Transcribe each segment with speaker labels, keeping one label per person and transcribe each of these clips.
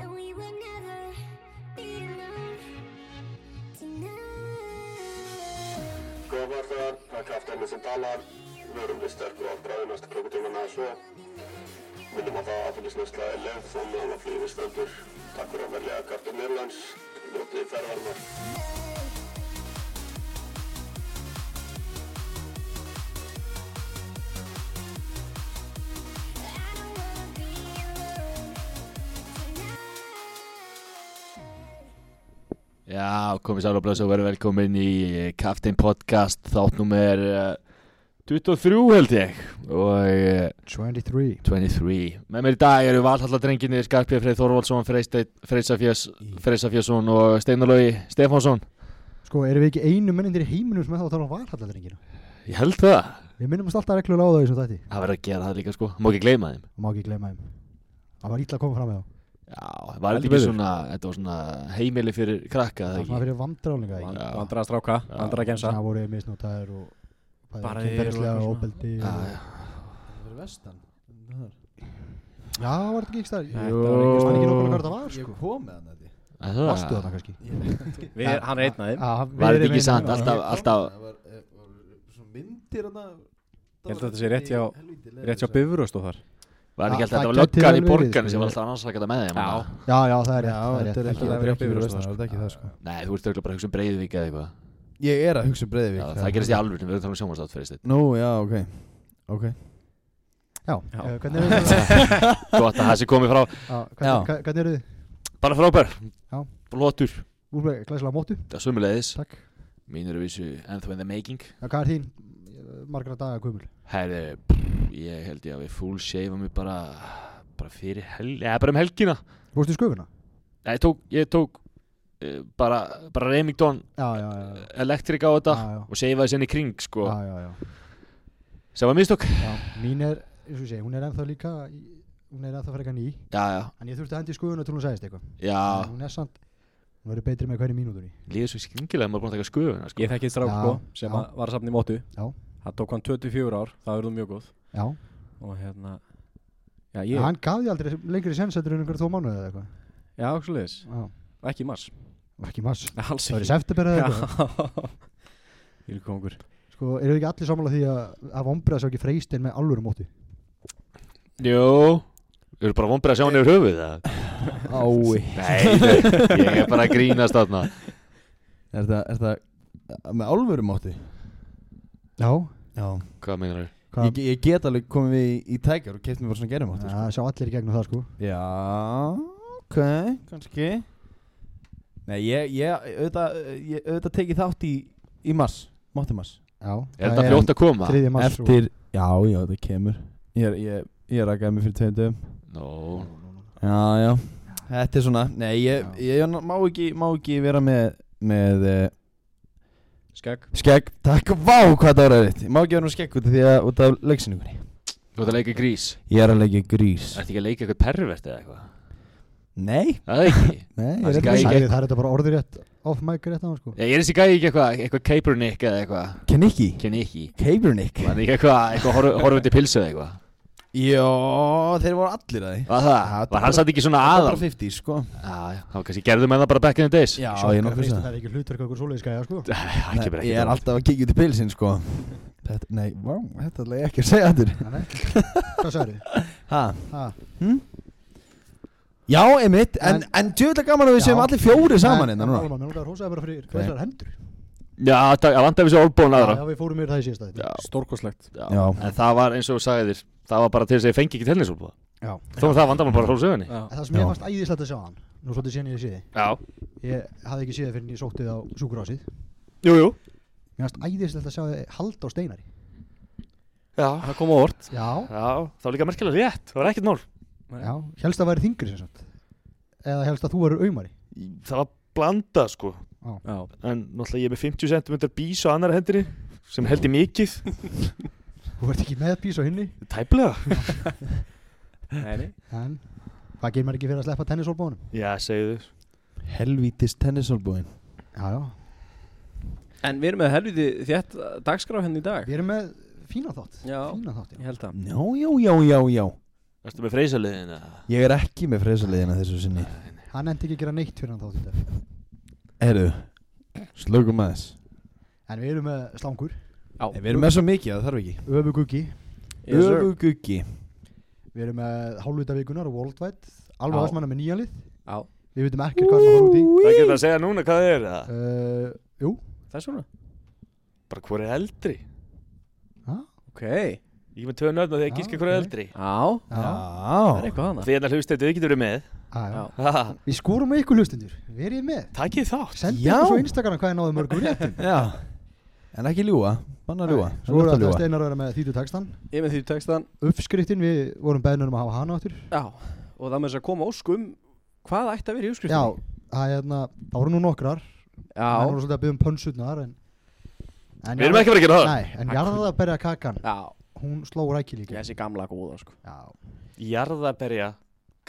Speaker 1: And we will never be alone tonight.
Speaker 2: Góðar þar, það er kraftaðinu sem talar, verum við sterkur á bræði næsta klukkutíman eða svo. Minnum að það aðfélagsnæsla er leið þó meðan að flýði stendur. Takk fyrir að velja Gartur Nýrlands, njótið ferðarnar.
Speaker 1: I don't wanna be alone tonight.
Speaker 3: Já, komið sála og blöðs og verið velkomin í Kaftin Podcast þáttnúmer eh, 23 held ég og eh,
Speaker 4: 23
Speaker 3: 23 Með mér í dag eru valhalladrenginir Skarpið Freyð Þorvaldsson, Freysafjösson og Steinarlógi Stefánsson
Speaker 4: Sko, erum við ekki einu mennindir í heiminum sem er þá að tala um valhalladrengina?
Speaker 3: Ég held það
Speaker 4: Við minnumst alltaf reglulega á þau sem þetta
Speaker 3: Það verður að gera það líka sko, má ekki gleyma þeim
Speaker 4: og má ekki gleyma þeim Það var ítla að koma fram með þá
Speaker 3: Já, það var
Speaker 5: Heldur
Speaker 3: ekki
Speaker 5: betur.
Speaker 3: svona, þetta var svona heimili fyrir krakka
Speaker 4: Það
Speaker 3: það
Speaker 4: var svona
Speaker 3: ekki
Speaker 4: fyrir vandrálinga
Speaker 3: Vand- Já.
Speaker 5: Vandra að stráka,
Speaker 3: Já.
Speaker 5: vandra að gensa
Speaker 4: Það voru misnótaðir og
Speaker 5: Bara
Speaker 4: bara
Speaker 5: þeir og
Speaker 4: kynferðislega og
Speaker 5: eitthvað svona.
Speaker 4: opeldi
Speaker 3: Já,
Speaker 4: og-
Speaker 3: já.
Speaker 6: Það er vestan
Speaker 4: Já, var þetta ekki ekki stær?
Speaker 5: Nei,
Speaker 4: Ég
Speaker 5: þetta var
Speaker 4: man ekki
Speaker 3: Jú.
Speaker 4: nokkuð hvað það var
Speaker 6: Ég
Speaker 4: sko
Speaker 6: kom með hann þetta
Speaker 3: Er það?
Speaker 4: Varstu þarna kannski?
Speaker 6: Ég-
Speaker 5: Við, hann er einn af þeim
Speaker 4: Var
Speaker 3: Ah. Var þetta ekki sant,
Speaker 6: Ég
Speaker 3: alltaf,
Speaker 6: kom
Speaker 3: alltaf
Speaker 6: með Það var, eh, var svo myndir hann
Speaker 5: Ég held að þetta sé rétt hjá- Rétt hjá Bifurust og þar
Speaker 3: Var ekki
Speaker 4: Það-
Speaker 3: alltaf, þetta
Speaker 4: það
Speaker 3: var
Speaker 4: gæti
Speaker 3: löggan í
Speaker 4: vel verið,
Speaker 3: borgarni
Speaker 4: sko.
Speaker 3: sem var alltaf annars að geta með þeim
Speaker 5: Já.
Speaker 3: annað.
Speaker 4: Já, já, það er rétt,
Speaker 6: Já,
Speaker 4: það er rétt
Speaker 6: þetta er rétt,
Speaker 4: Helgi
Speaker 6: þetta
Speaker 4: var
Speaker 6: er
Speaker 4: fyrir
Speaker 6: ekki
Speaker 4: Bifröst,
Speaker 6: Bifröst,
Speaker 4: sko.
Speaker 6: það er ekki það sko
Speaker 3: Nei, þú ert auðvitað bara að hugsa um Breiðvík eða eitthvað
Speaker 6: Ég er að hugsa um
Speaker 3: Já,
Speaker 6: Breiðvík
Speaker 3: það gerist í alvörinu, við erum talað um sjónvarstátt fyrir stið
Speaker 6: Nú, já, ok Ok
Speaker 4: Já,
Speaker 5: Já.
Speaker 4: eh, hvernig eru þið?
Speaker 3: Gott að það sé komið frá,
Speaker 4: Já, hvernig- eh, Hvernig eru þið?
Speaker 3: bara frábær
Speaker 4: Já.
Speaker 3: Blótur,
Speaker 4: Úrlega glæsilega á móttu,
Speaker 3: það er sömulegðis
Speaker 4: takk
Speaker 3: Mín eru vissu ennþá in the making
Speaker 4: Já, Hvað er þín? eh, Margra daga kumul
Speaker 3: Herði, ég held ég að við full shave mig bara bara fyrir helgi, eða bara um helgina
Speaker 4: Fórstu í sköfuna?
Speaker 3: Nei, ég tók, ég tók eh, bara, bara Remington
Speaker 4: Já, já, já, já.
Speaker 3: elektrika á þetta
Speaker 4: Já, já.
Speaker 3: og seifaði senni kring, sko
Speaker 4: já, já, já.
Speaker 3: sem var mistök
Speaker 4: Já, mín er, eins og ég segi, hún er ennþá líka í- hún er ennþá frekar ný
Speaker 3: Já, já,
Speaker 4: en ég þurfti að hendi í skoðuna til hún sagðist eitthvað
Speaker 3: já,
Speaker 4: En hún er samt, hún verður betri með hverju mínútunni
Speaker 3: líður svo skringilega maður búin að taka sköfuna, sko
Speaker 5: Ég þekki strák
Speaker 4: Já,
Speaker 5: sko, sem
Speaker 4: já.
Speaker 5: að var að safna í mótu
Speaker 4: Já.
Speaker 5: Það tók hann 24 ár, það verður mjög góð
Speaker 4: Já,
Speaker 5: Og hérna Já,
Speaker 4: ég...
Speaker 5: ég,
Speaker 4: hann gaf því aldrei lengri sensettur en einhver þó mánuði eða eitthvað
Speaker 5: já, ekki leis
Speaker 4: Já,
Speaker 5: Ekki í mars,
Speaker 4: var ekki mass
Speaker 5: alls
Speaker 4: Það var í
Speaker 5: ekki
Speaker 4: september eða eitthvað
Speaker 5: Já, ég er kongur
Speaker 4: Sko, eru þið ekki allir sammála því að að vombriða sá ekki freystin með alvöru móti
Speaker 3: Jú Þú eru bara vonbreið að sjá hann yfir höfuð það
Speaker 6: Ái
Speaker 3: Nei, nei, ég er bara að grínast þarna
Speaker 6: Er það, er það Með alvöru mátti
Speaker 4: Já
Speaker 6: Já
Speaker 3: Hvað meinar þau?
Speaker 4: Hvað,
Speaker 6: ég, ég get alveg komið við í, í tækjar og keft mér bara svona gerum átti
Speaker 4: það sjá allir í gegnum það sko
Speaker 6: Já, ok, kannski Nei, ég, ég, auðvitað, ég, auðvitað tekið þátt í, í mars, mátti mars
Speaker 4: Já,
Speaker 3: Er þetta fljótt að koma?
Speaker 4: Þriði mass
Speaker 6: Eftir, já, já, það kemur Ég, er- ég, ég rakaði mig fyrir tveim dögum
Speaker 3: Nó,
Speaker 4: sko.
Speaker 6: Já, já, þetta er svona, nei, ég,
Speaker 4: Já.
Speaker 6: ég, ég má, ekki, má ekki vera með, með uh,
Speaker 5: Skegg
Speaker 6: skegg Takk, vá, hvað það er þitt Ég má ekki vera með skegg út af því að, út af leiksinningunni
Speaker 3: þú ert að leika grís
Speaker 6: Ég er að leikja grís
Speaker 3: Ertu ekki að leika eitthvað pervert eða eitthvað?
Speaker 6: Nei,
Speaker 3: Það er ekki
Speaker 6: nei, ég
Speaker 3: Það er
Speaker 6: er ekki
Speaker 3: skegg.
Speaker 6: með
Speaker 4: Það er þetta bara orðið rétt off mic rétt á hann sko
Speaker 3: Ég er þessi gæði ekki eitthvað, eitthvað Kaepernick eða eitthvað
Speaker 6: Kenikki
Speaker 3: Kenikki
Speaker 6: Kaepernick
Speaker 3: Var það ekki eitthvað, eitthvað horf, horfandi pilsu eða eitthvað?
Speaker 6: Jó, þeir voru allir að því
Speaker 3: Var það?
Speaker 6: Já, þetta
Speaker 3: Var hann
Speaker 6: bara-
Speaker 3: satt ekki svona
Speaker 6: Þetta er
Speaker 3: aðal?
Speaker 6: bara 50 sko
Speaker 3: Já, já, þá kannski gerðu með það bara back in the days
Speaker 6: Já,
Speaker 4: Sjokkaður
Speaker 6: ég er nokkuð
Speaker 4: freistin,
Speaker 6: sem
Speaker 4: Það er ekki hlutverk okkur svoleiðis gæja sko
Speaker 3: Það kemur
Speaker 6: Nei,
Speaker 3: ekki
Speaker 6: Ég er alltaf að kikið til pilsin sko þetta, Nei, vá, þetta ætla ég ekki að segja aftur
Speaker 4: Nei. Hvað sagði þið?
Speaker 6: Ha?
Speaker 4: Ha?
Speaker 6: Hm? Já, einmitt En,
Speaker 4: En-
Speaker 6: en djöfulega gaman að við
Speaker 4: Já.
Speaker 6: séum allir fjóri saman hérna núna
Speaker 4: Alma, mér langar að hósaði bara fyrir glæsar hendur
Speaker 3: Já, það vantar við svo olbóðan aðra
Speaker 4: Já, við fórum yfir það í síðasta þetta
Speaker 3: Já,
Speaker 5: Stórkoslegt
Speaker 3: já
Speaker 6: Já.
Speaker 3: En það var eins og þú sagði þér Það var bara til þess að ég fengi ekki tennisolbóða
Speaker 4: Já.
Speaker 3: Þó var það vandar maður bara að hrósa henni
Speaker 5: Já,
Speaker 4: En það sem ég
Speaker 6: Já.
Speaker 4: fannst æðislegt að sjá hann Nú svolítið síðan ég sé þið
Speaker 3: Já,
Speaker 4: Ég hafði ekki séð það fyrir en ég sótti það á sjúkurásið
Speaker 3: jú, jú
Speaker 4: Mér fannst æðislegt að sjá þið hald á steinari
Speaker 3: Já,
Speaker 5: það kom á orð
Speaker 4: Já,
Speaker 3: Já, það var líka merkilega rétt, það var ekkert mál
Speaker 4: já Helst að væri þingri sem sagt Eða helst að þú verður aumari
Speaker 3: Það var blanda sko
Speaker 5: Já,
Speaker 3: En náttúrulega ég er með 50 cm bís á annar hendri Sem held ég mikið
Speaker 4: Þú verður ekki með pís á hinni
Speaker 3: Tæplega
Speaker 5: nei, nei
Speaker 4: En hvað gerir maður ekki fyrir að sleppa tennisolbónum?
Speaker 3: Já, segðu þau
Speaker 6: Helvítis tennisolbúin
Speaker 4: Já, já
Speaker 5: En við erum með helviti þétt dagskrá henni í dag
Speaker 4: Við erum með fína þátt
Speaker 5: Já.
Speaker 4: Fína þátt, já
Speaker 6: Mm.
Speaker 5: Ég held að
Speaker 6: Já, já, já, já, já
Speaker 3: Erstu með freysaliðin?
Speaker 6: Ég er ekki með freysulegina þessu sinni
Speaker 4: Hann endi ekki að gera neitt fyrir hann þá til þetta
Speaker 6: Herru, slökum aðeins
Speaker 4: En við erum með slangur,
Speaker 6: Nei, Við erum með svo mikið, það þarf ekki
Speaker 4: öfuguggi
Speaker 6: Öfuguggi
Speaker 4: Við erum með hálfvita vikunar og worldwide Alveg
Speaker 7: Já.
Speaker 4: aðsmanna með nýja lið
Speaker 7: Já.
Speaker 4: Við veitum ekkert hvað hann var út í
Speaker 3: Það getur að segja núna hvað það er eða?
Speaker 4: uh, Jú,
Speaker 7: Það er svona
Speaker 3: Bara hvor er eldri?
Speaker 7: Ok
Speaker 3: Ég er með tvö nöfn og því að
Speaker 4: Já,
Speaker 3: gíska hvor er
Speaker 4: ok.
Speaker 3: eldri
Speaker 7: Já
Speaker 4: já, Ah,
Speaker 7: Það er
Speaker 6: Já
Speaker 7: eitthvað hana
Speaker 3: Því hérna hlust þetta við getur verið með
Speaker 4: já, já.
Speaker 7: Já.
Speaker 3: Ha,
Speaker 4: Við skorum með ykkur hlustundur, verið með
Speaker 3: Takið þátt
Speaker 4: Sendi
Speaker 6: Já.
Speaker 4: ykkur svo Instagram hvað er náðu mörgum réttum
Speaker 6: Já En ekki ljúa, banna að ljúa
Speaker 4: Svo voru
Speaker 6: ertu
Speaker 4: þetta steinar að vera með þýtu textan
Speaker 7: Ég með því textan
Speaker 4: Uppskriftin, við vorum beðnur um að hafa hana áttur
Speaker 7: Já Og það með þess að koma óskum um Hvað ætti að vera í úrskriftinni?
Speaker 4: Já, það er hérna, það voru nú nokkrar Það
Speaker 7: Já
Speaker 4: voru svolítið að byggja um pönsurnar en, en
Speaker 3: Við erum ekki að fara að gera það
Speaker 4: Nei, en jarðaberja kakan,
Speaker 7: Já
Speaker 4: hún sló ræki líka
Speaker 7: Þessi gamla góða sko
Speaker 4: Já,
Speaker 3: Jarðaberja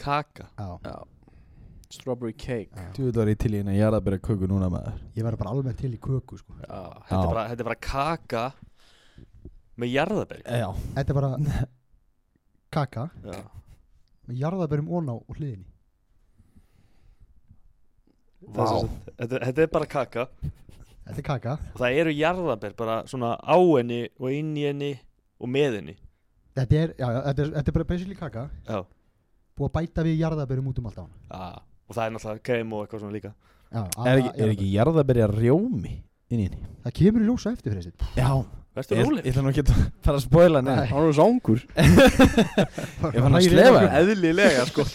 Speaker 3: kaka
Speaker 4: já,
Speaker 7: Strawberry cake
Speaker 4: já
Speaker 6: Þú veit var ég til í hérna jarðabera köku núna maður
Speaker 4: Ég verði bara alveg til í köku sko
Speaker 3: Já, Þetta er
Speaker 6: Já.
Speaker 3: bara, þetta er bara kaka með jarðaberja
Speaker 6: Já
Speaker 4: Þetta er bara kaka
Speaker 3: Já.
Speaker 4: með jarðaberjum ón á um og hliðinni
Speaker 3: Vá. Þetta, þetta er bara kaka
Speaker 4: Þetta er kaka,
Speaker 3: og það eru jarðaber bara svona á henni og inn í henni og með henni
Speaker 4: þetta er, já, já, þetta er, þetta er bara basically kaka
Speaker 3: Já.
Speaker 4: Búið að bæta við jarðaberjum út um allt á hana
Speaker 3: ah. og það er náttúrulega krem og eitthvað svona líka
Speaker 4: já,
Speaker 6: Er
Speaker 4: aðra
Speaker 6: ekki, er ekki jarðabera rjómi inn í henni?
Speaker 4: jarðaber. Það kemur í ljósa eftir fyrir þessi
Speaker 6: Já
Speaker 3: Verstu
Speaker 6: Ég
Speaker 3: róleg
Speaker 6: ég ætla nú ekki að fara að spoila neina
Speaker 7: Hann er sángur
Speaker 6: Ég fann að slefa það
Speaker 7: Eðlilega sko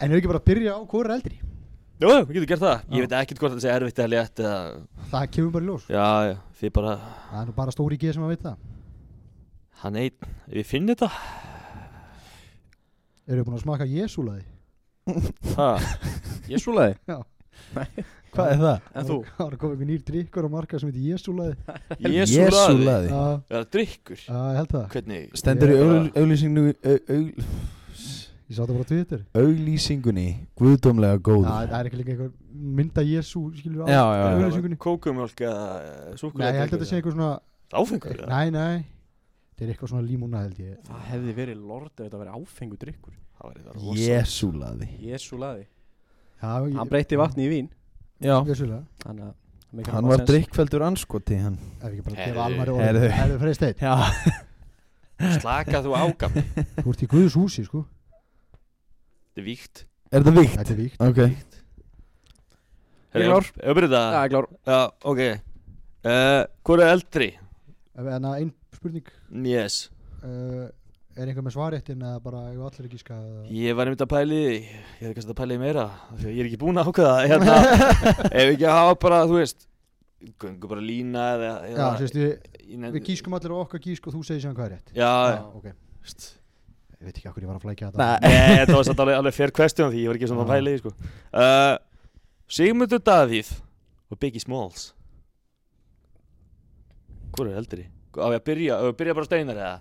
Speaker 4: En er ekki bara að byrja á hvora eldri
Speaker 3: Jó, við getum gert það
Speaker 4: Já.
Speaker 3: Ég veit ekkert hvort það sé erfitt eða létt eða
Speaker 4: Það kemur bara í ljós
Speaker 3: Já, já, því bara
Speaker 4: Það er nú bara stóri G sem að veit það
Speaker 3: Hann einn Við finnum þetta
Speaker 4: Eru búin að smaka jesúlaði?
Speaker 3: ha.
Speaker 7: Ég svoleiði
Speaker 6: Hvað er það?
Speaker 7: En þú
Speaker 4: Það var að koma einhver nýr drikkur á marka sem heitir jesúlaði
Speaker 3: Jésúlaði
Speaker 6: Jesúlaði.
Speaker 4: Já,
Speaker 3: Það er drikkur
Speaker 4: já, ég held það
Speaker 3: Hvernig
Speaker 6: Stendur í
Speaker 4: Já.
Speaker 6: augl- auglýsingu au- augl-
Speaker 4: Ég sá það bara á Twitter
Speaker 6: Auglýsingunni Guðdómlega
Speaker 4: Já,
Speaker 6: góð
Speaker 4: Það er ekki líka einhver mynda jesú skilur á
Speaker 6: Já, já, já.
Speaker 4: auglýsingunni.
Speaker 3: Kókumjólk eða
Speaker 4: Nei,
Speaker 3: súkulega
Speaker 4: ég held að þetta sé eitthvað svona
Speaker 3: Áfengur eða?
Speaker 4: Nei, nei Þetta er eitthvað svona límúna held ég
Speaker 7: Það hefði verið lord ef þetta verið áfengu drikkur
Speaker 3: Það væri það rosa.
Speaker 6: Jésúlaði
Speaker 7: Jésúlaði
Speaker 4: Já, ég
Speaker 7: Hann breytti vatni í vín
Speaker 6: Já
Speaker 4: Jesúlega
Speaker 7: Þannig að það meikar
Speaker 6: Hann
Speaker 7: bara
Speaker 6: var
Speaker 7: sens.
Speaker 6: drikkveldur anskoti hann
Speaker 4: Ef ekki bara
Speaker 3: Heyrðu.
Speaker 4: gefa almari
Speaker 6: Heyrðu.
Speaker 4: orðið Herðu freysteinn
Speaker 6: Já
Speaker 3: Slaka þú ágam Þetta
Speaker 4: Þú ert í Guðs húsi sko
Speaker 3: er víkt
Speaker 6: Er þetta vikt?
Speaker 4: Þetta er víkt
Speaker 6: Ok
Speaker 7: Ég
Speaker 3: Herra,
Speaker 7: er klár.
Speaker 3: Ég ég byrja
Speaker 7: Já,
Speaker 3: þetta
Speaker 7: ég klár
Speaker 3: Já, ok uh, Hvor er eldri?
Speaker 4: En að ein spurning
Speaker 3: Yes
Speaker 4: uh, Er einhver með svaréttin eða bara Ég allir ekki ska
Speaker 3: Ég var einmitt að pæli Ég er kannski að pæli meira af því að Ég er ekki búin að ákveða hérna, Ef ekki að hafa bara, þú veist Göngu bara lína eða,
Speaker 4: Já, sérstu
Speaker 3: sérst
Speaker 4: Við gískum allir á okkar gísk og þú segir sér hvað er rétt
Speaker 3: Já,
Speaker 4: Já, ok
Speaker 3: veist
Speaker 4: Ég veit ekki hvað ég var að flækja þetta
Speaker 6: Nei
Speaker 3: Nei, þetta var satt alveg, alveg fair question því ég var ekki svona að pæla í því, sko. uh, Sigmundur Davíð og Biggie Smalls Hvor er eldri? Á ég að byrja, á ég að byrja bara á steinar eða?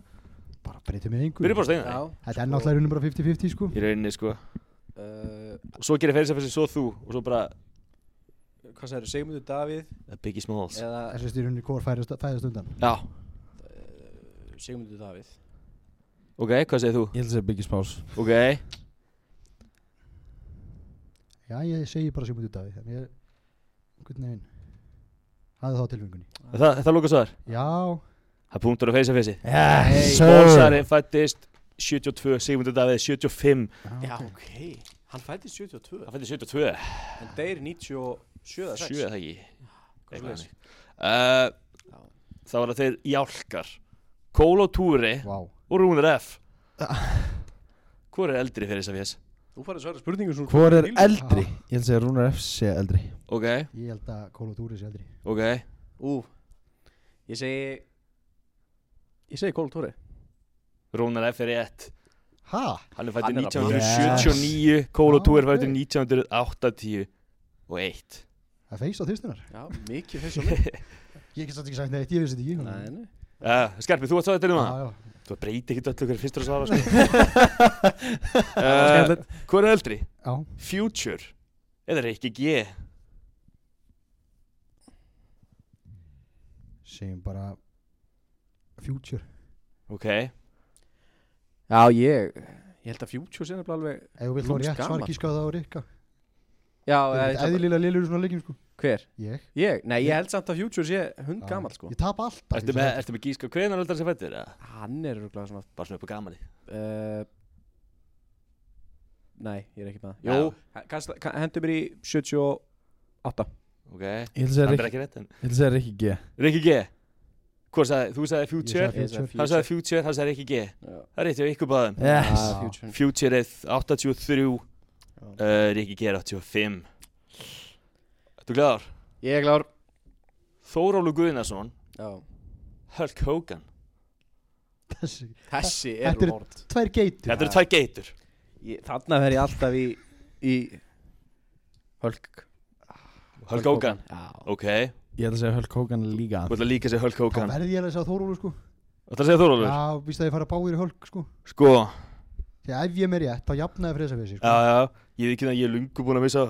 Speaker 4: Bara breytum við einhver
Speaker 3: Byrja bara á steinar
Speaker 7: Já
Speaker 4: Þetta er náttúrulega í rauninni bara 50-50 sko
Speaker 3: Í rauninni sko
Speaker 7: uh,
Speaker 3: Og svo gerir fyrir sig svo þú og svo bara
Speaker 7: Hvað segir þú? Sigmundur Davíð
Speaker 3: uh, Biggie Smalls
Speaker 7: Eða
Speaker 4: Það sést í rauninni hvor fæðast, fæðast undan
Speaker 3: Já,
Speaker 7: Sigmundur Davíð
Speaker 3: ok, hvað segir þú?
Speaker 6: Ég held að segja Biggie Smalls
Speaker 3: Ok,
Speaker 4: Já, ég segi bara Sigmundur Davíð En ég Hvernig veginn Hafði þá tilfengunni
Speaker 3: það, það lóka svar
Speaker 4: Já
Speaker 3: Það er punktur á face að face
Speaker 6: Yes
Speaker 3: Smallsari fættist 72, Sigmundur Davíð 75
Speaker 7: Já, ok Hann fættist 72
Speaker 3: Það fættist 72
Speaker 7: En deyr 97 eða
Speaker 3: 7
Speaker 7: 6
Speaker 3: eða ekki
Speaker 7: Hvað
Speaker 3: Eitthvað
Speaker 7: svoleiðis.
Speaker 2: Eh,
Speaker 3: þannig.
Speaker 7: Já.
Speaker 3: Uh, þá var það þeir jálkar Kólo Túri
Speaker 4: Vá
Speaker 3: og Rúnir F Hvor er eldri fyrir þess að fjess?
Speaker 7: Þú farið að svara spurningum svona
Speaker 6: Hvor er eldri? Ég held að segja Rúnar F sé eldri
Speaker 3: Ok,
Speaker 4: Ég held að Kóla Túris eldri
Speaker 3: ok
Speaker 7: Ú Ég segi Ég segi Kóla Tóri
Speaker 3: Rúnir F er rétt
Speaker 4: Ha?
Speaker 7: Hann
Speaker 3: Hann er fættur
Speaker 7: er að-
Speaker 3: 1979 Kólo
Speaker 4: Ah,
Speaker 3: Túri er
Speaker 4: ok.
Speaker 3: fættur 1980 og 1
Speaker 4: Það feist á þýstunar
Speaker 7: Já, mikið fyrst og mikið
Speaker 4: Ég get satt ekki sagt neitt Ég veist þetta ekki
Speaker 7: Nei, nei
Speaker 2: Eh,
Speaker 3: uh, Skarpi, þú ert svo þetta um
Speaker 4: Já,
Speaker 3: það?
Speaker 4: já
Speaker 3: Þú breyti ekkert öllu hverju fyrstur að
Speaker 2: Eh,
Speaker 3: svara sko. uh, Hvor er eldri?
Speaker 4: Já
Speaker 3: Future eða Rikki G?
Speaker 4: Segjum bara Future
Speaker 3: Ok
Speaker 5: Já, ég Ég held að Future sinna bara alveg
Speaker 4: Ef þú vilt fá
Speaker 5: Lúms
Speaker 4: rétt
Speaker 5: gaman,
Speaker 4: svar gíska þá Rikka
Speaker 5: Já,
Speaker 4: Þú
Speaker 5: eða-
Speaker 4: veit, Eðlilega liður svona leikin sko
Speaker 5: hver?
Speaker 4: Ég
Speaker 5: Ég? Nei, ég held samt að Future sé hund
Speaker 4: Já.
Speaker 5: gammal sko
Speaker 4: Ég tap alltaf
Speaker 2: Ertu
Speaker 4: ég
Speaker 2: með,
Speaker 4: sagði-
Speaker 2: ertu með gíska hvenar öldar sem fættir? eða?
Speaker 5: Hann er rúglega svona
Speaker 2: Bara svona upp á gamali
Speaker 5: uh, Nei, ég er ekki með
Speaker 2: Já.
Speaker 5: það Jú, he- kasta- ka- hendur mér í 78
Speaker 2: Ok Það
Speaker 6: Ég ætla að segja
Speaker 2: er
Speaker 6: Rick-
Speaker 2: ekki rétt en
Speaker 6: ég ætla að segja Rikki G
Speaker 2: Rikki G Hvað sagði, þú sagði
Speaker 4: Ég
Speaker 2: Future
Speaker 4: sagði Future
Speaker 2: Hann sagði Future, hann sagði Rikki G
Speaker 5: Já.
Speaker 2: Það er rétt hjá ykkur báðum
Speaker 6: Yes
Speaker 5: Ah, Future
Speaker 2: Future er 83 uh, eh, Rikki G er 85 Ertu glæðar?
Speaker 5: Ég er klár
Speaker 2: Þórólu Guðnason
Speaker 5: Já.
Speaker 2: Hulk Hogan
Speaker 4: Þessi-
Speaker 5: Þessi
Speaker 4: Þetta
Speaker 5: er
Speaker 4: eru-
Speaker 5: hort
Speaker 4: Tvær geitur
Speaker 2: Þetta eru tvær geitur
Speaker 5: Þarna fer ég alltaf í, í Hölk
Speaker 2: Hulk Hogan
Speaker 5: Já
Speaker 2: Ok Þú
Speaker 6: Ég ætla að segja Hulk Hogan líka
Speaker 2: ætla líka að segja Hulk
Speaker 4: Þá
Speaker 2: Hogan
Speaker 4: verði ég alveg að segja Þórólu sko
Speaker 2: Þú ætla að segja Þórólu
Speaker 4: Já, víst að ég fara báðir í hölk sko
Speaker 2: Sko
Speaker 4: Þegar ef ég er mér rétt þá jafnaði Freysa fyrir sér
Speaker 2: Já,
Speaker 4: sko
Speaker 2: já Ég veit ekki að ég er lungu búin að missa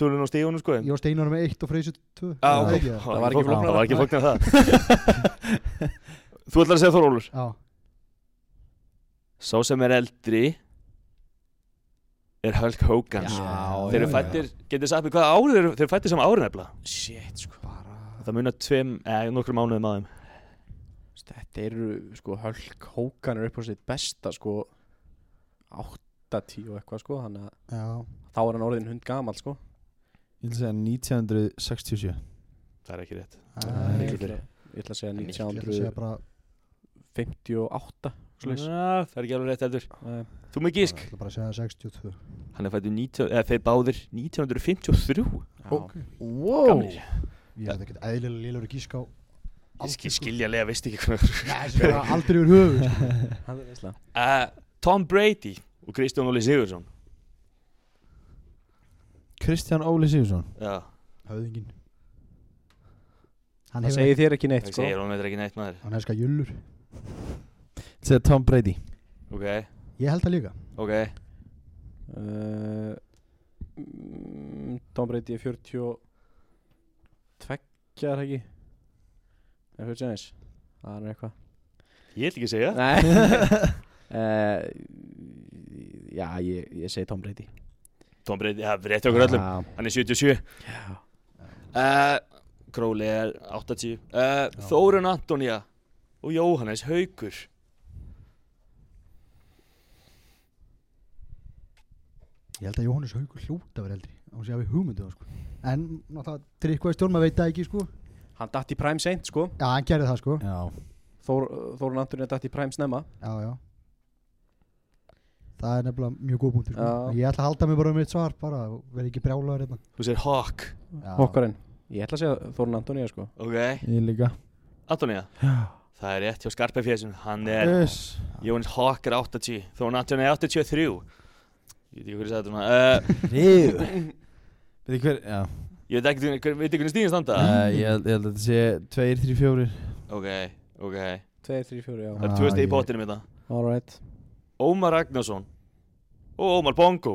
Speaker 2: tölun á stígunum sko en-
Speaker 4: Ég var steinar með eitt og Freysa tvö
Speaker 2: Já,
Speaker 4: Er það
Speaker 2: ok.
Speaker 4: ekki það?
Speaker 2: það
Speaker 5: var ekki flóknara.
Speaker 2: Það var ekki flóknar það Þú ætlar að segja Þórólur
Speaker 4: Já,
Speaker 2: Sá sem er eldri Er Hulk Hogan sko. Þeir eru
Speaker 6: já,
Speaker 2: fættir, getið sagt mér hvaða árið eru Þeir eru fættir sem árið nefnilega
Speaker 5: Shit sko bara
Speaker 2: Það munar tveim, eh, nokkrum mánuðum aðeim
Speaker 5: Þetta eru sko Hölk Hókan er upp á sitt besta sko 80 og eitthvað sko Þannig að
Speaker 4: já
Speaker 5: þá er hann orðin hund gammal sko
Speaker 6: Ég ætla að segja 1967
Speaker 2: Það er ekki rétt
Speaker 4: Æ,
Speaker 5: Ég
Speaker 4: ég
Speaker 5: ætla ég ætla að segja
Speaker 4: ætla að segja
Speaker 5: 1958
Speaker 4: bara
Speaker 5: svoleiðis.
Speaker 2: Na, Það er ekki alveg rétt eldur
Speaker 5: Nei.
Speaker 2: Þú með
Speaker 4: Ég
Speaker 2: gísk
Speaker 4: ætla bara að segja 62
Speaker 2: Hann er fættur 19, eða þeir báðir 1953
Speaker 5: Já.
Speaker 6: Wow
Speaker 2: Gamlir.
Speaker 4: Ég ætla ekki eðlilega liður að gíska á
Speaker 2: Ég skil- Skiljanlega veist ekki hvernig
Speaker 4: Þessi bara aldrei yfir höfu
Speaker 5: Hann er veistla
Speaker 2: uh, Tom Brady og Kristján Óli Sigurðsson
Speaker 6: Kristján Óli Sigursson
Speaker 2: Já,
Speaker 4: Höfðingin Hann
Speaker 5: Það
Speaker 4: hefur
Speaker 5: segir þér ekki neitt
Speaker 2: það
Speaker 5: sko
Speaker 2: segir hún þetta ekki neitt maður
Speaker 4: Hann elskar jullur
Speaker 6: Ég ætla að segja Tom Brady
Speaker 2: Ok,
Speaker 4: Ég held það líka
Speaker 2: ok
Speaker 5: Uh, mm, Tom Brady er 42 er það ekki Er 40 aðeins? Það er nú eitthvað
Speaker 2: Ég ætla ekki að segja
Speaker 5: Nei uh, Já, ég, ég segi Tom Brady
Speaker 2: Tom Brady, það er rétt hjá okkur öllum
Speaker 5: Já,
Speaker 2: Hann er 77
Speaker 5: já.
Speaker 2: uh, Króli er 80 uh, Þórun Antonía og Jóhannes Haugur
Speaker 4: Ég held að Jóhannes Haugur hljóta verið eldri Hún sé að við hugmyndu það sko En náttúrulega Tryggvaði Stjórn maður veit það ekki sko
Speaker 5: Hann datt í prime seint sko
Speaker 4: Já, hann gerði það sko
Speaker 6: Já
Speaker 5: Þór, Þórun Antonin datt í prime snemma
Speaker 4: Já, já Það er nefnilega mjög góð punktur sko.
Speaker 5: Já.
Speaker 4: Ég ætla að halda mig bara um eitt svar bara og vera ekki brjálaður hérna
Speaker 2: Þú segir Hawk
Speaker 4: Já.
Speaker 5: Hokkarinn Ég ætla að segja Þórun Antonin sko
Speaker 2: Ok,
Speaker 6: Ég líka
Speaker 2: Antonía Það er rétt hjá Skarpefjæsum Hann er,
Speaker 6: Yes
Speaker 2: Jóhannes Hawk er 80 Þórun Antonía er 83 Ég veit ekki hvernig þetta svona uh,
Speaker 6: Ríu Veit ekki hver Já
Speaker 2: Ég veit ekki hver- veit ekki hvernig stíðin standa
Speaker 6: uh, ég, held- ég held að þetta sé 2, 3, 4
Speaker 2: Ok, ok Það
Speaker 5: 2, 3, 4, já
Speaker 2: er
Speaker 6: Ah,
Speaker 2: tvö stið í
Speaker 6: ég-
Speaker 2: bóttinum þetta
Speaker 5: All right
Speaker 2: Ómar Ragnarsson og Ómar Bongo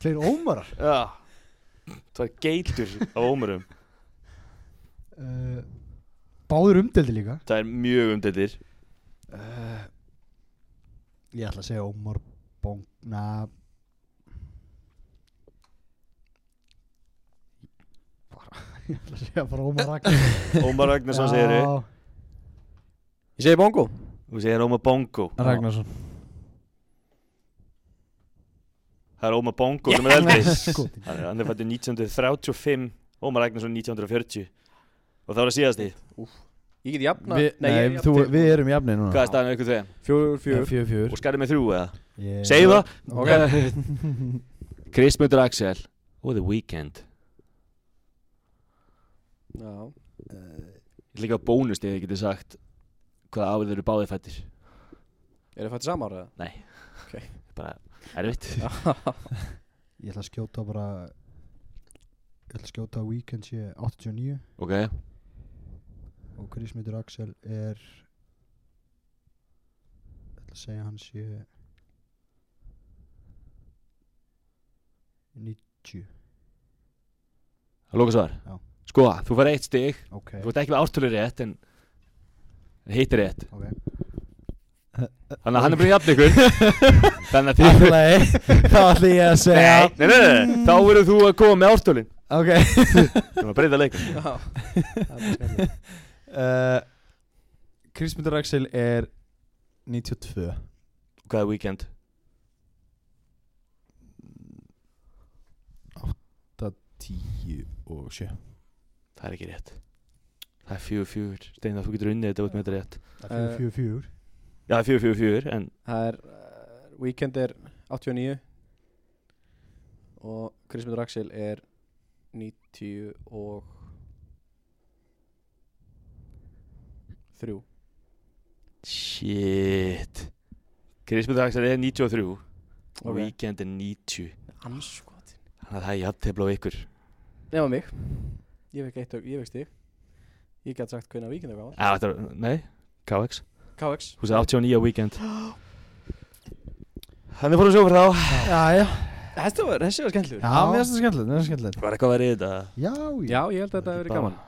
Speaker 4: Kleir ómarar
Speaker 2: Já Það er geitur af Ómarum
Speaker 4: uh, Báður umdeldi líka
Speaker 2: Það er mjög umdeldir
Speaker 4: Ég ætla að segja ómar bóng Na bara, Ég ætla að segja bara ómar rakk
Speaker 2: Ómar Ragnarsson segir þau
Speaker 5: Ég segi Bongo
Speaker 2: Þú segir Ómar Bongo
Speaker 6: Ragnarsson
Speaker 2: Það er Ómar Bongo sem er eldri
Speaker 4: Sko,
Speaker 2: Hann er- hann er fættur 1935 Ómar Ragnarsson 1940 Og þá er það síðast í
Speaker 5: Ég get jafna
Speaker 6: Vi, Nei,
Speaker 5: ég er
Speaker 6: þú,
Speaker 5: jafn til-
Speaker 6: við erum jafnir núna
Speaker 2: Hvað er staðan aukur þeim?
Speaker 5: 4, 4
Speaker 6: Fjör, fjör
Speaker 2: Og skarið með þrjú eða?
Speaker 6: yeah.
Speaker 2: Segðu það
Speaker 5: Ok.
Speaker 2: Kristmundur Axel Og The Weeknd
Speaker 5: Já
Speaker 2: Ég ætla líka að bónust ef ég geti sagt Hvaða árið þeir eru báðið fættir
Speaker 5: Er það fætt samar eða?
Speaker 2: Nei
Speaker 5: Ok.
Speaker 2: Bara erfitt
Speaker 4: Ég ætla að skjóta bara Ég ætla að skjóta að Weekend sé 89
Speaker 2: Ok
Speaker 4: og Krismitur Axel er Ég ætla að segja hann sé 90
Speaker 2: Það lóka svar
Speaker 4: Já.
Speaker 2: Sko, þú fær eitt stig
Speaker 4: Ok,
Speaker 2: Þú ert ekki með ártölu rétt en en hitt er rétt
Speaker 4: ok
Speaker 3: Þannig að hann er bara jafn ykkur Þannig að þið
Speaker 6: Allegi, þá ætla ég að segja
Speaker 3: Nei, nei, nei, nei, þá verður þú að koma með ástölin
Speaker 6: Ok
Speaker 3: Það var að breyta leikur
Speaker 6: uh, Kristmyndur Axel er 92
Speaker 3: Hvað er weekend?
Speaker 6: 10 og 7
Speaker 3: Það er ekki rétt Það er fjögur fjögur Steinar, þú getur unnið þetta út með þetta rétt
Speaker 4: Það er fjögur, fjögur,
Speaker 3: Já, það er fjögur fjögur fjögur En
Speaker 7: Það er uh, Weekend er 89 Og Krismundur Axel er 90 og 3
Speaker 3: Shit Krismund Axel er 93 Og
Speaker 7: Ok.
Speaker 3: weekend er 90
Speaker 7: Anskotin
Speaker 3: Þannig að það er jafntefla á ykkur
Speaker 7: Nefna mig Ég veik eitt og ég veik stig Ég get sagt hvernig Weekend er gaman
Speaker 3: Já, þetta var, nei KX
Speaker 7: KX
Speaker 3: Þú sagði 89 á weekend Þannig fórum svo fyrir þá
Speaker 6: Já, já
Speaker 7: Þessi var, þessi var skemmtilegur
Speaker 6: Já, mér finnst það skemmtilegt, mér finnst það skemmtilegt
Speaker 3: Var eitthvað að vera í þetta?
Speaker 4: já, já
Speaker 7: Já, ég held að þetta hefur verið gaman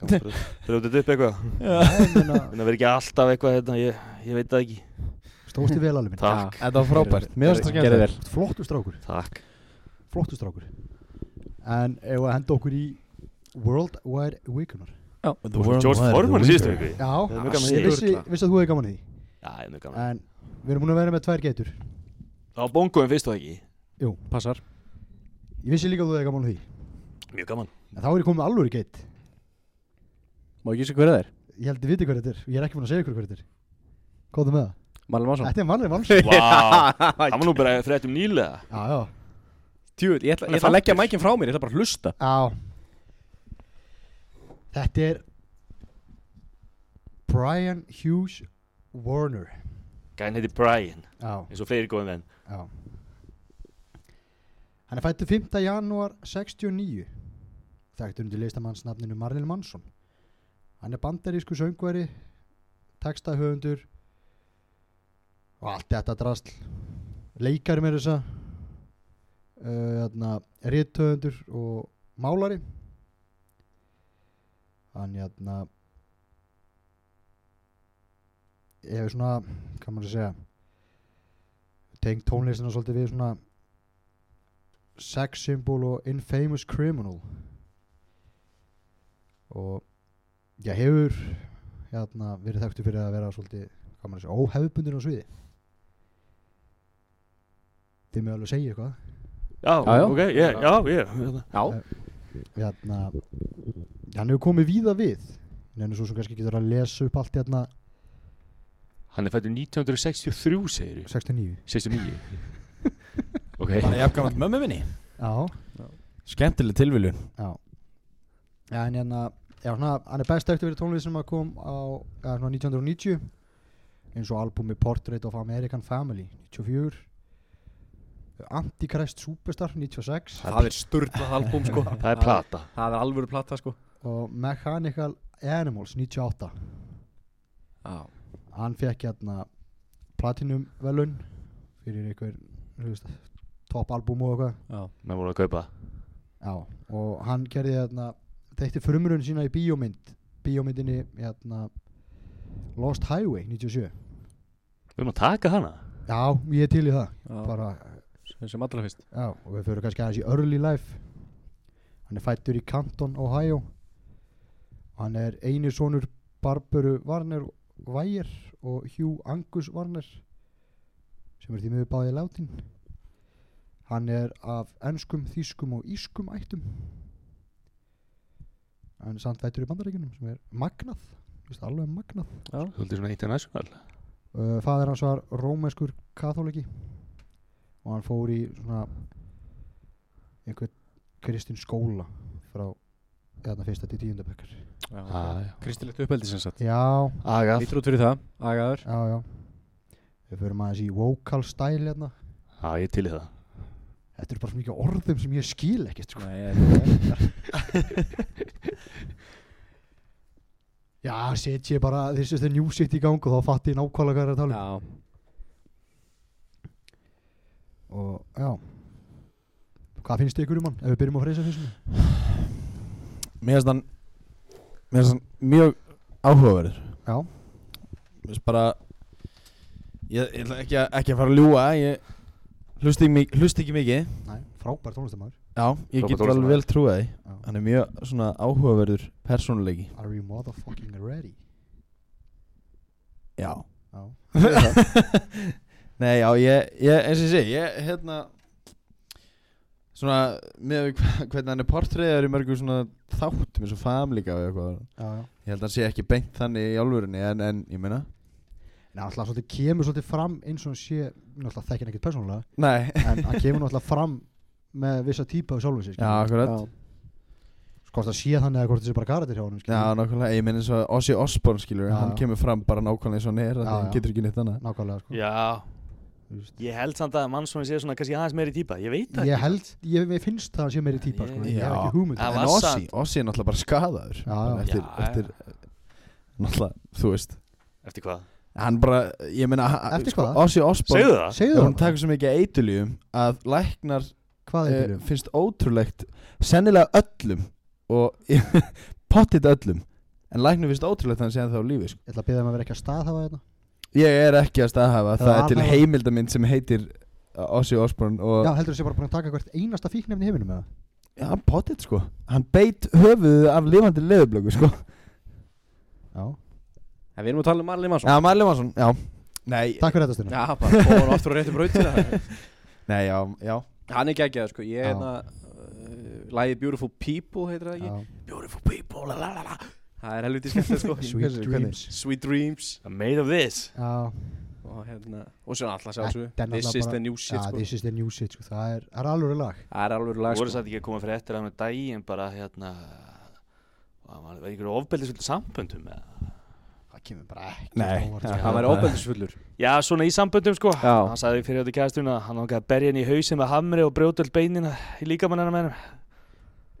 Speaker 3: Þeir áttu upp eitthvað
Speaker 4: Já, ég meina,
Speaker 3: Þannig að vera ekki alltaf eitthvað hérna Ég, ég veit það ekki
Speaker 4: Stóðst í vel alveg minn
Speaker 3: Takk,
Speaker 6: Þetta var frábært, mér finnst það
Speaker 7: Gerðu
Speaker 6: skemmtilegt
Speaker 7: vel
Speaker 4: Flottur strákur,
Speaker 3: takk
Speaker 4: flottur strákur En ef að henda okkur í World Wide Weekunar
Speaker 3: Þú varst með George Foreman í síðustu viku
Speaker 4: Já,
Speaker 3: er mjög gaman að því.
Speaker 4: ég vissi, vissi að þú hefði gaman að því
Speaker 3: Já, ég er mjög gaman
Speaker 4: En við erum búin að vera með tvær getur
Speaker 3: Það var bongoðum fyrst og ekki
Speaker 7: Passar
Speaker 4: Ég vissi líka að þú hefði gaman að því
Speaker 3: Mjög gaman
Speaker 4: En þá er ég komið með alvöru geit
Speaker 7: Má ekki sé hverja þeir
Speaker 4: Ég held að viti hvað þetta er Ég er ekki búin að segja ykkur hvað þetta er Kóðu með það
Speaker 7: Malin Mansson
Speaker 4: Þetta er mannlega valsið
Speaker 3: Vá, það var nú bara frétt um nýlega
Speaker 4: Já, já
Speaker 7: Tjúl, ég ætla, ég ætla að leggja mækin frá mér Ég ætla bara að hlusta
Speaker 4: Já Þetta er Brian Hughes Warner
Speaker 3: Gæn heiti Brian,
Speaker 4: Já,
Speaker 3: eins og fleiri góðum venn
Speaker 4: já Hann er fættu 5. janúar 69 Þekktur undir listamannsnafninu Marilyn Manson Hann er bandarísku söngveri textahöfundur og allt þetta drasl leikari með þessa uh, rithöfundur og málari hann hérna, jæna ég hefur svona hvað maður að segja teng tónlistina svolítið við svona sex symbol og infamous criminal og ég hefur hérna, verið þekktu fyrir að vera svolítið hvað maður að segja, óhefbundin á sviði þið með alveg segja eitthvað
Speaker 3: Já,
Speaker 7: Já, já.
Speaker 3: ok, ég, já, ég
Speaker 7: Já
Speaker 4: hérna, hann hefur komið víða við nefnir svo sem kannski getur að lesa upp allt hérna
Speaker 3: Hann er fættur 1963, segir
Speaker 4: 69
Speaker 3: 69 Ok,
Speaker 6: Hann er jafngamalt mömmu minni
Speaker 4: já,
Speaker 6: Skemmtileg tilviljun
Speaker 4: já. en hérna já, svona, hann er best eftir verið tónlist sem að kom á eða, svona 1990 eins og albumi Portrait of American Family 94 Antichrist Superstar 96
Speaker 7: Það er sturglað albúm sko
Speaker 3: það er plata
Speaker 7: Það er alvöru platta sko
Speaker 4: og Mechanical Animals 98
Speaker 7: Já
Speaker 4: hann fekk hérna platinum velun fyrir einhver þú veist, top album og eitthvað
Speaker 3: Menn voru að kaupa það.
Speaker 4: Já, og hann gerði hérna þekkti frumrun sína í bíómynd bíómyndinni hérna Lost Highway 97
Speaker 3: Við erum að taka hana
Speaker 4: Já, ég er til í það
Speaker 7: Já
Speaker 4: bara,
Speaker 7: Sem allra fyrst
Speaker 4: já, og við fyrir kannski aðeins í early life hann er fættur í Canton, Ohio hann er einu sonur Barberu Warner Weyer og Hugh Angus Warner sem er því miður báðið látin hann er af enskum, þýskum og ískum ættum hann er samt fættur í bandaríkunum sem er magnað, þú veist, alveg magnað
Speaker 3: Svolítið svona international
Speaker 4: uh, fadir hans var rómæskur katholiki og hann fór í svona einhvern kristin skóla frá þarna fyrsta til tíundabekkar
Speaker 6: Ah.
Speaker 3: Já, já.
Speaker 7: Kristilegt uppeldi sem sagt
Speaker 4: já,
Speaker 3: Agaf
Speaker 7: Lítur út fyrir það Agaður
Speaker 4: já, já við förum aðeins í vocal style hérna
Speaker 3: Já, ég er til í það
Speaker 4: þetta eru bara svo mikið af orðum sem ég skil ekkert sko.
Speaker 7: Nei, ég-
Speaker 4: já, set ég bara þessi þetta new shit í gang og þá fatt ég nákvæmlega hvað er að tala um
Speaker 7: Já
Speaker 4: og já hvað finnst ykkur um hann ef við byrjum á freysa fyrst
Speaker 6: Mér finnst hann Mér finnst hann mjög áhugaverður
Speaker 4: já,
Speaker 6: Mér finnst bara Ég, ég ætla ekki, að- ekki að fara að ljúa Ég hlusti, mi- hlusti ekki mikið
Speaker 4: Nei, frábær tónlistamæður
Speaker 6: Já, ég
Speaker 8: Frábær
Speaker 6: get
Speaker 8: tónlistarmaður.
Speaker 6: alveg vel trúið því
Speaker 4: Já.
Speaker 6: Hann er mjög svona áhugaverður persónuleiki
Speaker 4: Are you motherfucking ready?
Speaker 6: Já
Speaker 4: Já,
Speaker 6: Nei, já, ég, ég eins og ég segi Ég, hérna Svona, með hvernig hann er portreiðar í mörgum svona þáttum eins og famlíka og eitthvað
Speaker 4: já, já
Speaker 6: Ég held að hann sé ekki beint þannig í álfurinni en, en, ég meina
Speaker 4: En alltaf svolítið kemur svolítið fram eins og hann sé Náttúrulega þekkin ekkert persónulega
Speaker 6: Nei
Speaker 4: En hann kemur náttúrulega fram með vissa típa á sjálfum sér
Speaker 6: Já, akkurat Já,
Speaker 4: Hvort það sé þannig eða hvort það sé bara karatir hjá honum skilur.
Speaker 6: nákvæmlega, ég meina eins og Ozzy Osbourne skilur
Speaker 4: Já,
Speaker 6: Hann
Speaker 4: já.
Speaker 6: kemur fram bara nákvæmlega eins og hann er af því
Speaker 4: Já,
Speaker 6: Hann
Speaker 4: já.
Speaker 6: getur ekki neitt annað
Speaker 4: Nákvæmlega sko
Speaker 3: Já,
Speaker 4: Þú veist.
Speaker 3: ég held samt að mannsónin sé svona kannski aðeins meiri típa, ég veit það
Speaker 4: Ég held, ég, ég finnst það að hann sé meiri típa sko en Ég hef
Speaker 6: Já.
Speaker 4: ekki húmynd
Speaker 3: Það
Speaker 6: En
Speaker 3: var
Speaker 6: Ossi,
Speaker 3: samt-
Speaker 6: Ossi er náttúrulega bara skadaður
Speaker 4: Já,
Speaker 6: Bara
Speaker 4: já.
Speaker 3: Já,
Speaker 6: eftir,
Speaker 3: já.
Speaker 6: eftir Náttúrulega, þú veist
Speaker 3: ekki Eftir hvað?
Speaker 6: Hann bara, ég meina
Speaker 4: Eftir hvað?
Speaker 6: Ossi Osborn
Speaker 3: Segðu það?
Speaker 4: Segðu
Speaker 6: Hún
Speaker 4: það bara.
Speaker 6: takur svo mikið eitulíum Að læknar
Speaker 4: Hvað er
Speaker 6: eh,
Speaker 4: þetta?
Speaker 6: finnst ótrúlegt Sennilega öllum Og pottit öllum En læknar finnst ótrúlegt þannig séðan þá á lífi sko.
Speaker 4: Ég ætla að byrja um að vera ekki að staðhafa þetta
Speaker 6: Ég er ekki að staðhafa
Speaker 4: Það
Speaker 6: Það er til
Speaker 4: afhafa-
Speaker 6: heimildamind sem heitir Ossi Osborn Og
Speaker 4: Já, heldur þú sé bara búin að taka hvert einasta fíknefni í heiminum eða?
Speaker 6: já, pottit sko Hann beit höfuðið af lifandi leðublöku sko
Speaker 4: Já,
Speaker 5: En við erum að tala um Marley Mansson
Speaker 6: Já, Marley Mansson, já Nei,
Speaker 4: takk fyrir þetta stundum
Speaker 5: Já, bara bóðan aftur á réttu brautina
Speaker 6: nei, já, já
Speaker 5: Hann er geggjað, sko Ég
Speaker 4: Já.
Speaker 5: er hérna uh, Lægið Beautiful People heitir það ekki Beautiful People, la la la la Það er helviti skemmt, sko
Speaker 4: Sweet Dreams
Speaker 5: Sweet Dreams
Speaker 3: Made of this
Speaker 4: Já,
Speaker 5: Og hérna Og svo alltaf
Speaker 4: Þetta er
Speaker 5: sjálfsög This
Speaker 4: náttúrulega
Speaker 5: is
Speaker 4: bara-
Speaker 5: the new shit,
Speaker 4: já,
Speaker 5: sko
Speaker 4: Ah, this is the new shit sko. Það er, það er alveg lag
Speaker 5: Það er alveg
Speaker 3: Þú
Speaker 5: lag,
Speaker 3: voru
Speaker 5: sko
Speaker 3: satt ekki að koma fyrir eftir hann með daginn bara hérna Það var einhverju ofbeldisvöldu samböndum eða?
Speaker 4: Það kemur bara ekki
Speaker 6: Nei,
Speaker 4: óvart,
Speaker 6: já,
Speaker 4: sko.
Speaker 5: Hann væri óbældisfullur
Speaker 3: Já, svona í samböndum sko
Speaker 5: Já.
Speaker 3: Hann sagði fyrir þetta kæðastun að hann ákveði að berja henni í hausin með hamri og brjótöld beinina í líkamannina með henni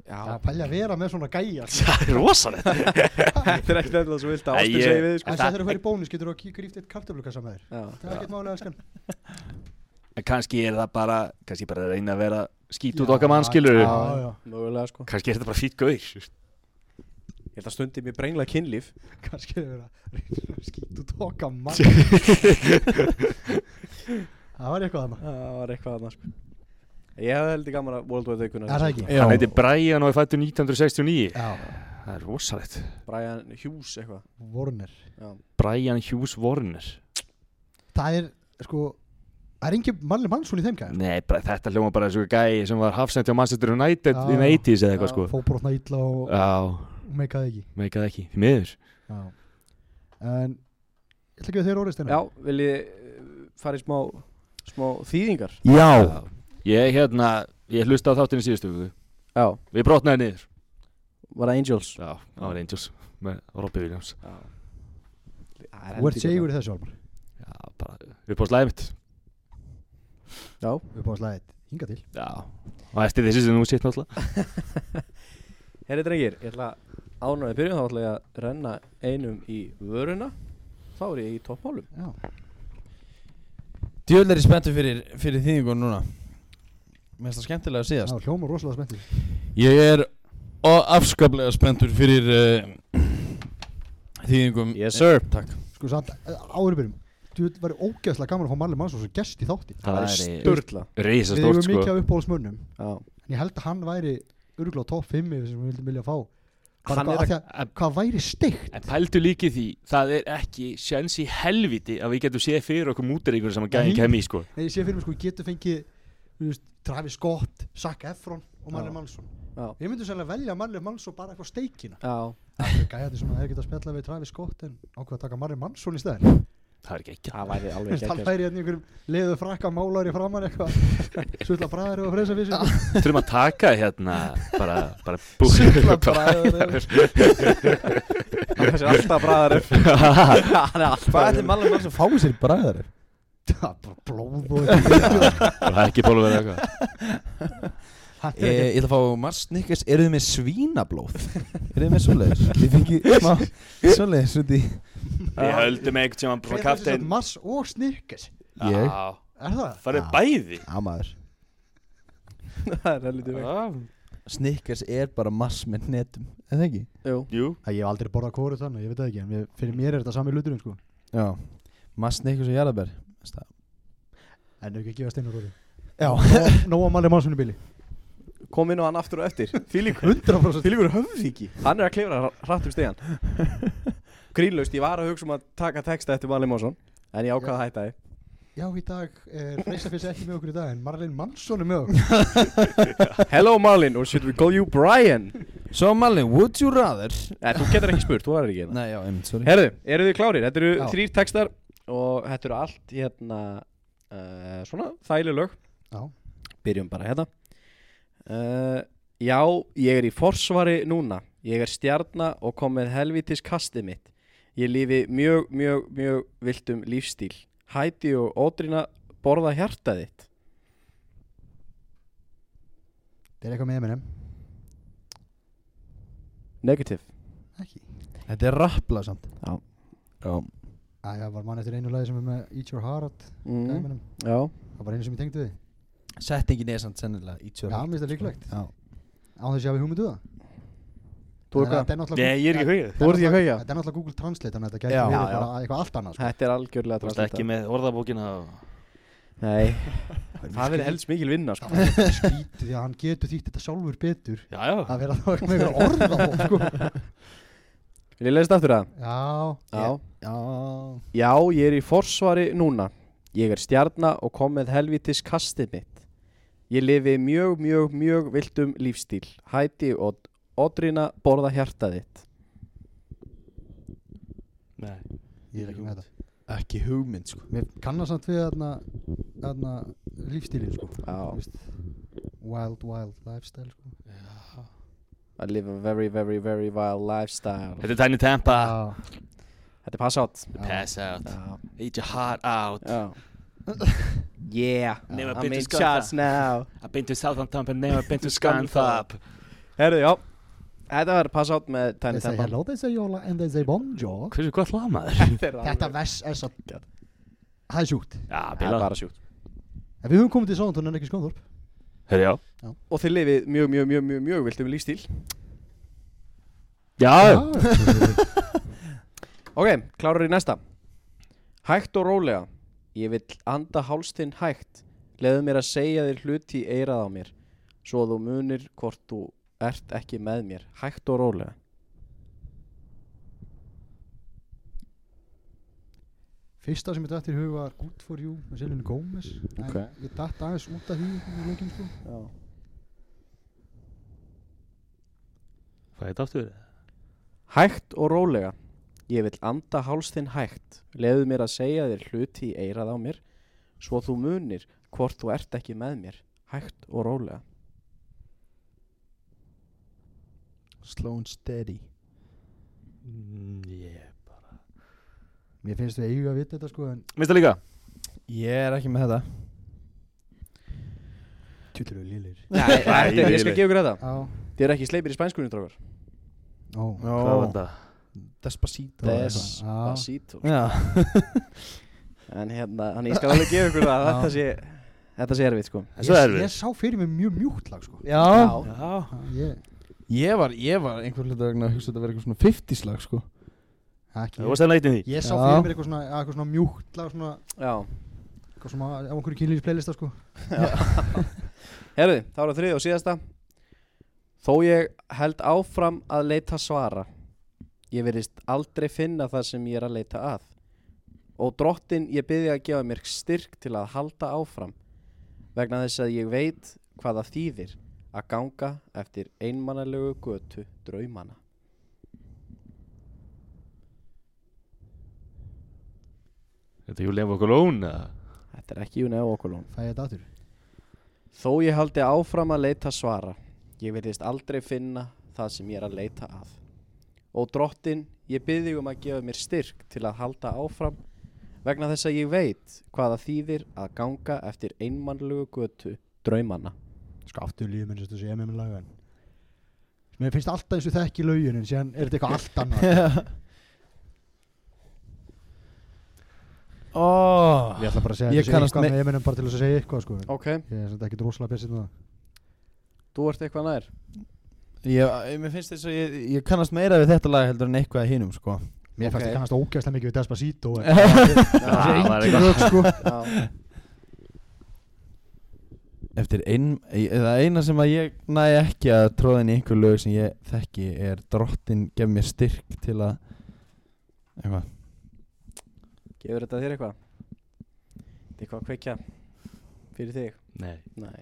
Speaker 5: Já
Speaker 4: Það pælja að vera með svona gæja sko.
Speaker 3: Það er rosalegt
Speaker 5: Þetta er ekkert eðla svo vilt að
Speaker 3: Nei,
Speaker 5: ástin
Speaker 3: ég-
Speaker 5: segi við, sko
Speaker 4: En
Speaker 3: það-
Speaker 4: það þegar þú fyrir bónus getur þú að gríft eitt kartöflukassa með þér
Speaker 5: Já
Speaker 4: Það er ekkert málega skan
Speaker 3: En kannski er það bara, kannski bara að reyna að vera skít út
Speaker 4: Já,
Speaker 3: okkar mannskilur
Speaker 4: Já, já
Speaker 5: Mögulega, sko
Speaker 3: Kannski er þetta bara fýtt gaur
Speaker 5: Ég held að stundi mér brengla kynlíf
Speaker 4: Kannski er það verið að skýtu tóka mann Það var eitthvað þarna
Speaker 5: Það var eitthvað annað, sko Ég hef heldur gaman að World Wide Aukuna
Speaker 4: Er það ekki?
Speaker 3: Hann heiti Brian og er fættur 1969
Speaker 4: Já,
Speaker 3: Það er rosalegt
Speaker 5: Brian Hughes eitthvað
Speaker 4: Warner
Speaker 5: Já.
Speaker 3: Brian Hughes Warner
Speaker 4: Það er, sko Það er engin mannleg mannsson í þeim gæja
Speaker 3: Nei, bara, þetta hljóma bara eins og gæi sem var hafsend hjá Manchester United
Speaker 4: Já.
Speaker 3: in the 80s eða eitthvað
Speaker 5: Já.
Speaker 3: sko
Speaker 4: Fóbrotna illa og
Speaker 3: Já,
Speaker 4: meikaði ekki
Speaker 3: meikaði ekki, því miður
Speaker 4: Já En Ég ætla ekki að þeir orðist
Speaker 5: Já, vil ég eh, fara í smá, smá þýðingar
Speaker 6: Já,
Speaker 3: Ég hérna, ég hlusta á þáttinu síðustu viku.
Speaker 5: Já,
Speaker 3: Við brotnaði niður
Speaker 5: var það Angels
Speaker 3: Já, það var Angels með Robbie Williams
Speaker 5: Já
Speaker 4: Þú ert segur í þessu Almar
Speaker 3: Já, bara upp á slæðið mitt
Speaker 4: Við erum búin að slæða þetta hinga til
Speaker 3: Já, og eftir þessi sem þú sitt náttúrulega
Speaker 5: Herri drengir, ég ætla ánum að byrja þá ætla ég að renna einum í vöruna Þá er ég í toppmálum
Speaker 4: Já,
Speaker 6: djöðl er ég spenntur fyrir, fyrir þýðingun núna Mér finnst það skemmtilega
Speaker 4: það
Speaker 6: síðast
Speaker 4: var hljóma rosalega smettir
Speaker 6: Ég er o- afskaplega spenntur fyrir uh, þýðingum
Speaker 5: Yes, sir.
Speaker 6: Takk
Speaker 4: Sko samt, áður byrjum Þú veit, væri ógeðslega gaman að fá Marley Mansson sem gest í þátti
Speaker 3: Það
Speaker 5: er
Speaker 3: væri-
Speaker 5: sturla
Speaker 4: Við erum
Speaker 3: Rísastórt sko
Speaker 4: mikið af uppbóðsmönnum
Speaker 5: Já,
Speaker 4: En ég held að hann væri örgulega top 5 yfir sem við vildum vilja fá Bara
Speaker 5: Hann
Speaker 4: hvað,
Speaker 5: er
Speaker 4: af því að,
Speaker 3: að-
Speaker 4: hvað væri steikt
Speaker 3: En pældu líki því, það er ekki sjans í helviti að við getum séð fyrir okkur mútiríkur sem að gæðin
Speaker 4: Nei.
Speaker 3: kemur í sko
Speaker 4: Nei, ég sé fyrir mig sko, ég getur fengið þú veist, Travis Scott, Zac Efron og Marley
Speaker 5: Já.
Speaker 4: Mansson
Speaker 5: já,
Speaker 4: Ég myndi sérlega velja Marley Mansson bara eitthvað steikina
Speaker 5: já
Speaker 4: Það er gæjandi sem að hefur getað að spjalla við Travis Scott en ákveða að taka Marley Mansson í stæðin
Speaker 3: Það er ekki ekki
Speaker 5: Það væri alveg
Speaker 4: Hann
Speaker 5: geggjast
Speaker 4: færi hérna í einhverjum leiðu frakka málar í framann eitthvað Svullar bræðar og freysa fyrir
Speaker 3: Þurfum að taka hérna bara, bara bú-
Speaker 4: Svullar bræðar
Speaker 5: Það er alltaf bræðar upp Hann er alltaf
Speaker 6: Hvað er þetta mannlega mann sem fáið sér bræðar?
Speaker 4: Það er bara blóð og eitthvað.
Speaker 3: Það er ekki bólu verið eitthvað
Speaker 4: Hann
Speaker 6: Ég,
Speaker 4: er ekki-
Speaker 6: ég ætla að fá Mars Nikkers, eru þið með svínablóð? eru þið með svoleiðis? Þið fengið smá svoleiðis út í
Speaker 3: Við höldum eitthvað sem bara
Speaker 4: Hver er þessi sem
Speaker 3: kaftin
Speaker 4: Mars og Snickers
Speaker 6: Ég?
Speaker 3: Já,
Speaker 4: Er það?
Speaker 3: farið bæði
Speaker 6: Amaður
Speaker 5: Það er helviti vekk
Speaker 3: Já,
Speaker 6: Snikkers er bara Mars með netum, eða ekki?
Speaker 5: Jú,
Speaker 3: Jú,
Speaker 4: Það ég hef aldrei borðað kóru þannig, ég veit það ekki En við- fyrir mér er þetta sami hluturinn sko
Speaker 6: Já Mars Nikkers og Jarðabær
Speaker 7: Stað.
Speaker 4: En ekki að gefa steinar orði
Speaker 7: Já.
Speaker 4: Nóa Mali Málssoni bíli
Speaker 5: kom inn á hann aftur og eftir Fílík
Speaker 4: 100%
Speaker 5: Fílíkur höfðíki Hann er að klifra hra- hratt um stegan Grínlaust, ég var að hugsa um að taka texta eftir Marley Mónsson En ég ákvaða að hætta þið
Speaker 4: Já, í dag er Reisafis ekki með okkur í dag En Marlin Mansson er með okkur
Speaker 5: Hello Marlin, or should we call you Brian?
Speaker 7: So Malin, would you rather
Speaker 5: Nei, þú getur ekki spurt, þú varir ekki hérna
Speaker 7: Nei, já, einmitt, sorry
Speaker 5: Herðu, eru þið klárir? Þetta eru
Speaker 4: Já.
Speaker 5: þrýr textar Og þetta eru allt hérna uh, Svona, þægileg lög
Speaker 4: Já.
Speaker 5: Byrjum bara hérna uh, Já, ég er í forsvari núna Ég er stjarna og kom með helvitis kastið mitt Ég lifi mjög, mjög, mjög viltum lífstíl Hæti og ódrina borða hjarta þitt
Speaker 4: Það er eitthvað með Eminem
Speaker 5: Negative
Speaker 4: Ekki
Speaker 7: Þetta er rappla samt
Speaker 5: Já.
Speaker 7: Já
Speaker 4: Æ, það var mann eftir einu lagi sem er með Eat Your Heart mm.
Speaker 5: mm.
Speaker 4: Eminem
Speaker 5: Já,
Speaker 4: Það var einu sem ég tengdi við
Speaker 7: Settingin er samt sennilega í tjörn
Speaker 4: Já, mér finnst það líklegt
Speaker 7: Já
Speaker 4: Á þess að ég hafi hugmyndu það
Speaker 5: Þú
Speaker 4: Þannig
Speaker 5: er
Speaker 4: að
Speaker 5: hvað?
Speaker 4: þetta er náttúrulega-
Speaker 2: Nei, ég er ekki hugið
Speaker 5: Þú ert ekki að hauja
Speaker 4: Þetta er náttúrulega Google Translate Þannig að
Speaker 7: Já.
Speaker 4: þetta gæti verið
Speaker 5: Já, já.
Speaker 4: bara eitthvað allt annað sko.
Speaker 5: Þetta er algjörlega
Speaker 2: Þú veist
Speaker 5: translata.
Speaker 2: ekki með orðabókina og...
Speaker 5: Nei, það verður helst mikil vinna sko.
Speaker 4: Það er skrítið því að hann getur þýtt þetta sjálfur betur
Speaker 2: Já, já
Speaker 4: að vera þá eitthvað með einhverja orða sko.
Speaker 5: Vil ég leist aftur það?
Speaker 4: Já,
Speaker 5: Já
Speaker 7: Já
Speaker 5: Já, ég er í forsvari núna Ég er stjarna og kom með helvitis kastið mitt Ég lifi mjög, mjög, mjög viltum lífstíl Hæti og odrina borða hjarta þitt
Speaker 2: Nei
Speaker 4: ég er ekki með þetta
Speaker 7: Ekki hugmynd sko
Speaker 4: Mér kannast samt við þarna, þarna lífstílið sko.
Speaker 5: Já.
Speaker 4: Þú veist, Wild, wild lifestyle sko.
Speaker 5: I live a very, very, very wild lifestyle
Speaker 2: Þetta er Tiny Tampa
Speaker 4: Já,
Speaker 5: Þetta er pass out
Speaker 2: Pass out
Speaker 5: Já,
Speaker 2: Eat your heart out
Speaker 5: já Yeah,
Speaker 2: Nema
Speaker 5: I'm in
Speaker 2: Bintus Gata.
Speaker 5: charge now
Speaker 2: I've been to Southampton but never been to
Speaker 5: Scunthorpe.
Speaker 2: Scunthorpe
Speaker 5: Herðu, já Þetta var pass out með
Speaker 4: they
Speaker 5: Tiny
Speaker 4: say
Speaker 5: Tempa
Speaker 4: hello, they say yola and they say bonjour
Speaker 2: Hversu gott lag maður?
Speaker 5: Ah,
Speaker 4: Þetta vers er svo Það er sjúkt
Speaker 2: Já,
Speaker 5: Það er
Speaker 2: bilað
Speaker 5: bara sjúkt
Speaker 4: En við höfum komið til sáðan en ekki skóðorp
Speaker 2: Herri, já
Speaker 5: og þið lifið mjög, mjög, mjög, mjög, mjög viltum lífstíl
Speaker 2: Já
Speaker 5: Ok, klárar í næsta Hægt og rólega Ég vill anda hálstinn hægt Leðu mér að segja þér hluti í eirað á mér Svo þú munir hvort þú ert ekki með mér Hægt og rólega
Speaker 4: Fyrsta sem ég dætti í hug var Good for you með Selin Gómez En
Speaker 5: Ok.
Speaker 4: Ég dætti aðeins út af því í leikin sko.
Speaker 5: Já
Speaker 2: Hvað er þetta aftur?
Speaker 5: Hægt og rólega Ég vil anda hálstinn hægt Leðu mér að segja þér hluti í eirað á mér Svo þú munir hvort þú ert ekki með mér Hægt og rólega
Speaker 7: Slow and steady
Speaker 2: Yeah
Speaker 4: Mér finnst við eiga að vita þetta sko, en
Speaker 2: Minnst það líka?
Speaker 7: Ég er ekki með þetta
Speaker 4: tjúllur við lélir
Speaker 5: Nei, þetta er- ég skal
Speaker 2: Ægileg.
Speaker 5: gefa ykkur þetta
Speaker 4: Já,
Speaker 5: Þið eru ekki sleipir í spænskunni, drókar
Speaker 4: ó
Speaker 2: Hvað var þetta?
Speaker 7: Despacito
Speaker 5: Des-
Speaker 4: Já.
Speaker 5: Basito
Speaker 7: Já
Speaker 5: En hérna, hann ég skal alveg gefa ykkur það að Þetta sé, þetta sé erfitt sko
Speaker 2: Þessu er
Speaker 4: Ég
Speaker 2: við
Speaker 4: sá fyrir mig mjög mjúkt lag sko.
Speaker 7: Já
Speaker 2: Já
Speaker 4: Ég,
Speaker 7: Ég var, ég var einhver hluta vegna að hugsa þetta að vera eitthvað svona 50 slag sko
Speaker 2: Það
Speaker 4: ekki,
Speaker 2: hérna var stæðan leitin því
Speaker 4: ég sá
Speaker 7: Já.
Speaker 4: fyrir mér eitthvað svona, eitthvað svona mjúkt lag svona,
Speaker 5: Já
Speaker 4: eitthvað svona á einhverju kynlýs playlista sko.
Speaker 5: Herðu, þá er það þriði og síðasta Þó ég held áfram að leita svara Ég verðist aldrei finna það sem ég er að leita að Og drottin ég byrði að gefa mér styrk til að halda áfram Vegna þess að ég veit hvað það þýðir Að ganga eftir einmannalegu götu draumana
Speaker 2: Þetta er Julian Vokolón eða?
Speaker 5: Þetta er ekki Júna og Okolón
Speaker 4: Fæ ég þetta aftur
Speaker 5: Þó ég haldi áfram að leita svara, ég verðist aldrei finna það sem ég er að leita að. Og drottin, ég byrði um að gefa mér styrk til að halda áfram vegna þess að ég veit hvaða þýðir að ganga eftir einmannlugu götu draumanna.
Speaker 4: Sko aftur lífið minn sem þú sé MM lag en Mér finnst alltaf eins og þekki lögin en síðan er þetta eitthvað allt annað
Speaker 7: Ó
Speaker 4: Ég ætla bara að segja
Speaker 7: Ég
Speaker 4: þetta sé
Speaker 7: kannast
Speaker 4: eitthvað
Speaker 7: með-
Speaker 4: með Eminem bara til þess að segja eitthvað sko. en
Speaker 5: Ok,
Speaker 4: Ég er þetta ekki droslega besið með það
Speaker 5: þú ert eitthvað nær.
Speaker 7: Ég, mér finnst þess að ég, ég kannast meira við þetta lag heldur en eitthvað að hinum sko
Speaker 4: Mér fannst
Speaker 5: Ok.
Speaker 4: ég kannast ógæslega mikið við Despacito en
Speaker 5: Já,
Speaker 4: Það
Speaker 3: var
Speaker 4: er engin rök sko
Speaker 5: já,
Speaker 6: Eftir ein, e- það eina sem að ég næ ekki að tróða inn í einhver lög sem ég þekki er drottin gef mér styrk til að eitthvað
Speaker 5: gefur þetta þér eitthvað Þetta er eitthvað að kveikja fyrir þig
Speaker 2: Nei,
Speaker 5: nei,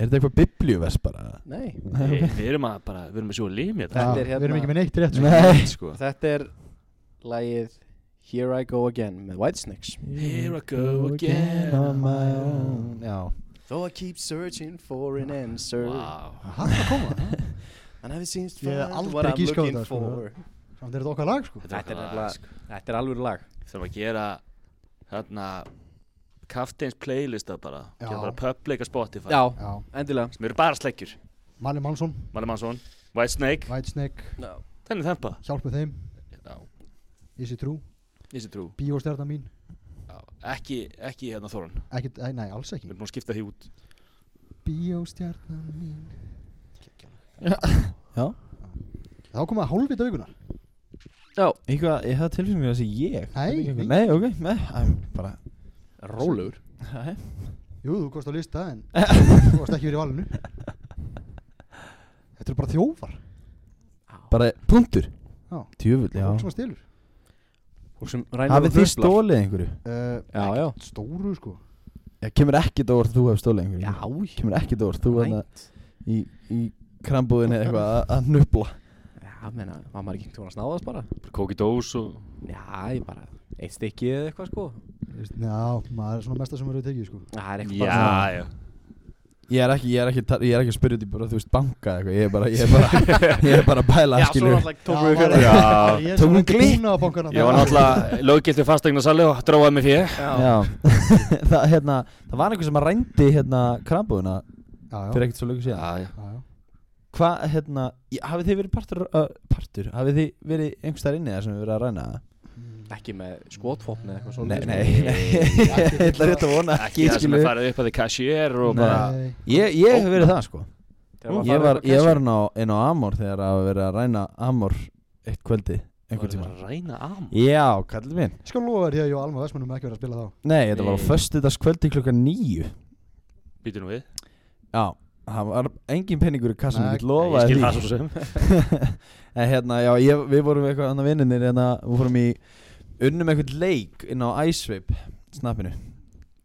Speaker 6: Er þetta eitthvað biblíuvers bara?
Speaker 5: nei.
Speaker 2: Nei, við erum að bara, við erum að sjóða lim
Speaker 4: Já,
Speaker 2: þetta
Speaker 5: Þetta er
Speaker 4: Við erum
Speaker 5: hérna-
Speaker 4: ekki með neitt rétt sko
Speaker 6: Nei
Speaker 2: sko.
Speaker 5: þetta er lagið Here I Go Again með Whitesnakes
Speaker 2: Here I go again on my own
Speaker 6: Já
Speaker 5: Though I keep searching for an answer
Speaker 2: Ah, Wow
Speaker 4: Hætt að koma
Speaker 5: And I've seen
Speaker 4: Ég hef
Speaker 5: found
Speaker 4: aldrei
Speaker 5: what I'm
Speaker 4: gískað á
Speaker 5: looking
Speaker 4: þetta, sko.
Speaker 5: for
Speaker 4: Samt er þetta okkar lag sko
Speaker 5: Þetta er
Speaker 2: okkar
Speaker 5: nefnilega-
Speaker 2: lag, sko.
Speaker 5: Þetta er alveg lag
Speaker 2: Þurfum að gera Þarna Kafteins playlista bara
Speaker 4: Já.
Speaker 2: Gera bara public á Spotify
Speaker 5: Já,
Speaker 4: Já
Speaker 5: endilega
Speaker 2: Sem eru bara sleggjur
Speaker 4: Mali Mansson
Speaker 2: Mali Mansson White Snake
Speaker 4: Whitesnake
Speaker 5: no.
Speaker 2: Þenni þempa
Speaker 4: Hjálpu þeim
Speaker 2: Já
Speaker 4: Is it true
Speaker 2: Easy True
Speaker 4: Bíóstjarnar mín
Speaker 2: Já Ekki, ekki hérna Þorun
Speaker 4: Ekkert, eh, nei, alls
Speaker 2: Við
Speaker 4: ekki
Speaker 2: erum búin að skipta því út
Speaker 4: Bíóstjarnar mín
Speaker 6: Já.
Speaker 4: Þá komið að hálfvita vikunar
Speaker 6: Eitthvað, ég hafði tilfengið að það sé ég
Speaker 4: Nei,
Speaker 6: Þetta er eitthvað-
Speaker 4: nei.
Speaker 6: Nei, ok, nei, æ, bara
Speaker 5: Rólegur
Speaker 6: Æ.
Speaker 4: Jú, þú komst á lista en Þú varst ekki verið í valinu Þetta eru bara þjófar
Speaker 6: Bara punktur
Speaker 4: Já.
Speaker 6: Tjöfull, já
Speaker 4: Fólk sem að stelur
Speaker 5: Og sem rænir
Speaker 6: Hafið
Speaker 5: og
Speaker 6: þið
Speaker 5: hruflar.
Speaker 6: stólið einhverju?
Speaker 4: uh,
Speaker 5: Já, já
Speaker 4: Stóru sko
Speaker 6: Já, kemur ekkit óvart að þú hefur stólið einhverju
Speaker 5: Já,
Speaker 6: Kemur ekkit óvart þú
Speaker 5: Nei.
Speaker 6: að í, í krambúðinni eða eitthvað að- að nubla
Speaker 5: Já, menna, var maður ekki einhvern tímann að snáðast bara?
Speaker 2: Kóki Dós og
Speaker 5: Já, ég bara, eitt stykki eða eitthvað sko
Speaker 4: Já, maður er svona mesta sem verið tekið sko
Speaker 5: Það er eitthvað bara
Speaker 2: Já, já
Speaker 6: Ég er ekki, ég er ekki, að tala- ég er ekki að spyrja út í bara, þú veist, banka eða eitthvað, ég er bara, ég er bara, ég er bara að bæla, skilur
Speaker 5: alltaf tókum
Speaker 4: Já,
Speaker 5: við fyrir
Speaker 4: maður-
Speaker 2: Já.
Speaker 4: Ég er
Speaker 6: Tókum
Speaker 4: svona
Speaker 6: glitt.
Speaker 4: búinn á bankana
Speaker 2: Ég var náttúrulega löggiltur fastegna sali og dróðaði mig fyrir
Speaker 5: Já,
Speaker 6: Já, það, hérna, það var einhver sem að rændi, hérna, krambúðina
Speaker 4: Já, já,
Speaker 6: fyrir ekkert svo lögur síðan
Speaker 2: Já, já
Speaker 4: já, já.
Speaker 6: Hvað, hérna, í- hafið þið verið partur, uh, partur, hafið þið verið einhvers þar inni þar sem við verið að ræna það?
Speaker 5: ekki með skotvopni eða eitthvað sko.
Speaker 6: Nei,
Speaker 5: svona
Speaker 6: nei, nei, ég ætla rétt að vona
Speaker 2: Ekki
Speaker 6: ekki,
Speaker 2: það sem
Speaker 6: skilur
Speaker 2: er farið upp að þið cashier og
Speaker 6: Nei.
Speaker 2: bara
Speaker 4: Nei,
Speaker 6: Ég, ég hef verið það, sko Ég var, ég var
Speaker 5: nú
Speaker 6: inn á, inn á Amor þegar að verið að ræna Amor eitt kvöldi, einhvern tíma
Speaker 2: Bara Ræna am
Speaker 6: Já, kallið minn
Speaker 4: Ég skal lofa þér því að ég og Alma Vestmannum ekki verið að spila þá
Speaker 6: Nei, þetta var á
Speaker 2: Nei.
Speaker 6: föstudagskvöldi klukkan nýju
Speaker 2: Býtu nú við
Speaker 6: Já, það var engin penningur í kassan
Speaker 4: Nei,
Speaker 6: Ég
Speaker 2: Ég
Speaker 6: get lofaði
Speaker 2: skil það
Speaker 6: því
Speaker 2: svo sem
Speaker 6: En hérna, já, ég, við vorum við eitthvað annað vinninir Hérna, við fórum í Unnum einhvern leik inn á Icevape Snappinu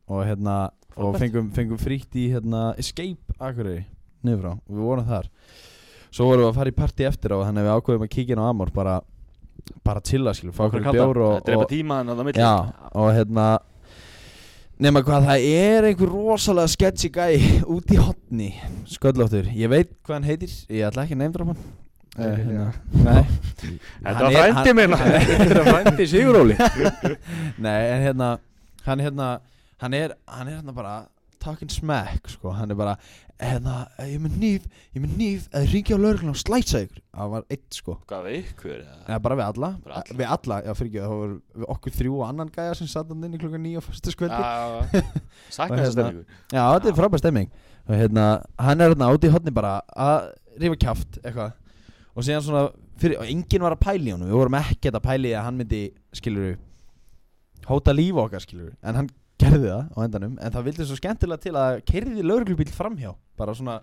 Speaker 6: Og hérna, og fengum, fengum frítt í hérna, Escape Akureyri Niður frá, og við vorum þar Svo vorum við að fara í partí eftir á Þannig að við ákveðum að kíkja inn á Amor Bara, bara chilla, skilur, fá okkur
Speaker 5: kalda.
Speaker 6: bjór og,
Speaker 2: Þetta er
Speaker 6: og,
Speaker 2: eitthvað tímaðan á það milli
Speaker 6: Já, og hérna Nefna hvað, það er einhver rosalega sketchy gæ út í hotni Sköllóttur, ég veit hvað hann heitir Ég ætla ekki að neymdra hann
Speaker 4: Nei,
Speaker 6: Eh, hérna.
Speaker 4: já.
Speaker 6: Nei,
Speaker 2: Þetta
Speaker 6: Hann
Speaker 2: var
Speaker 6: er-
Speaker 2: frændi
Speaker 6: hann-
Speaker 2: minn
Speaker 5: Þetta er frændi Siguróli
Speaker 6: Nei, en hérna Hann hérna, hann er, hann er hérna bara Talking smack, sko, hann er bara Hérna, eh, ég er með nýf Ég er með nýf, eða ringi á lögreglun og slætsa ykkur Það var eitt, sko
Speaker 2: Hvað við ykkur eða?
Speaker 6: Eða bara við alla,
Speaker 2: Bara alla.
Speaker 6: Við alla, já, fyrir ekki, það voru við okkur þrjú og annan gæja sem satt hann inn í klukkan nýja á fyrstu
Speaker 2: Já, já,
Speaker 6: skvöldi
Speaker 2: já. Sakna
Speaker 6: Og
Speaker 2: þess að
Speaker 6: hérna- Já, þetta er frábæð stemming og hérna, hann er hérna áti í hotni bara að rífa kjáft eitthvað og síðan svona, fyrir, og enginn var að pæli honum við vorum ekkert að pæli að hann myndi skiluru, hóta lífa okkar skiluru, en hann gerði það á endanum, en það vildi svo skemmtilega til að keiriði lauruglubíl framhjá, bara svona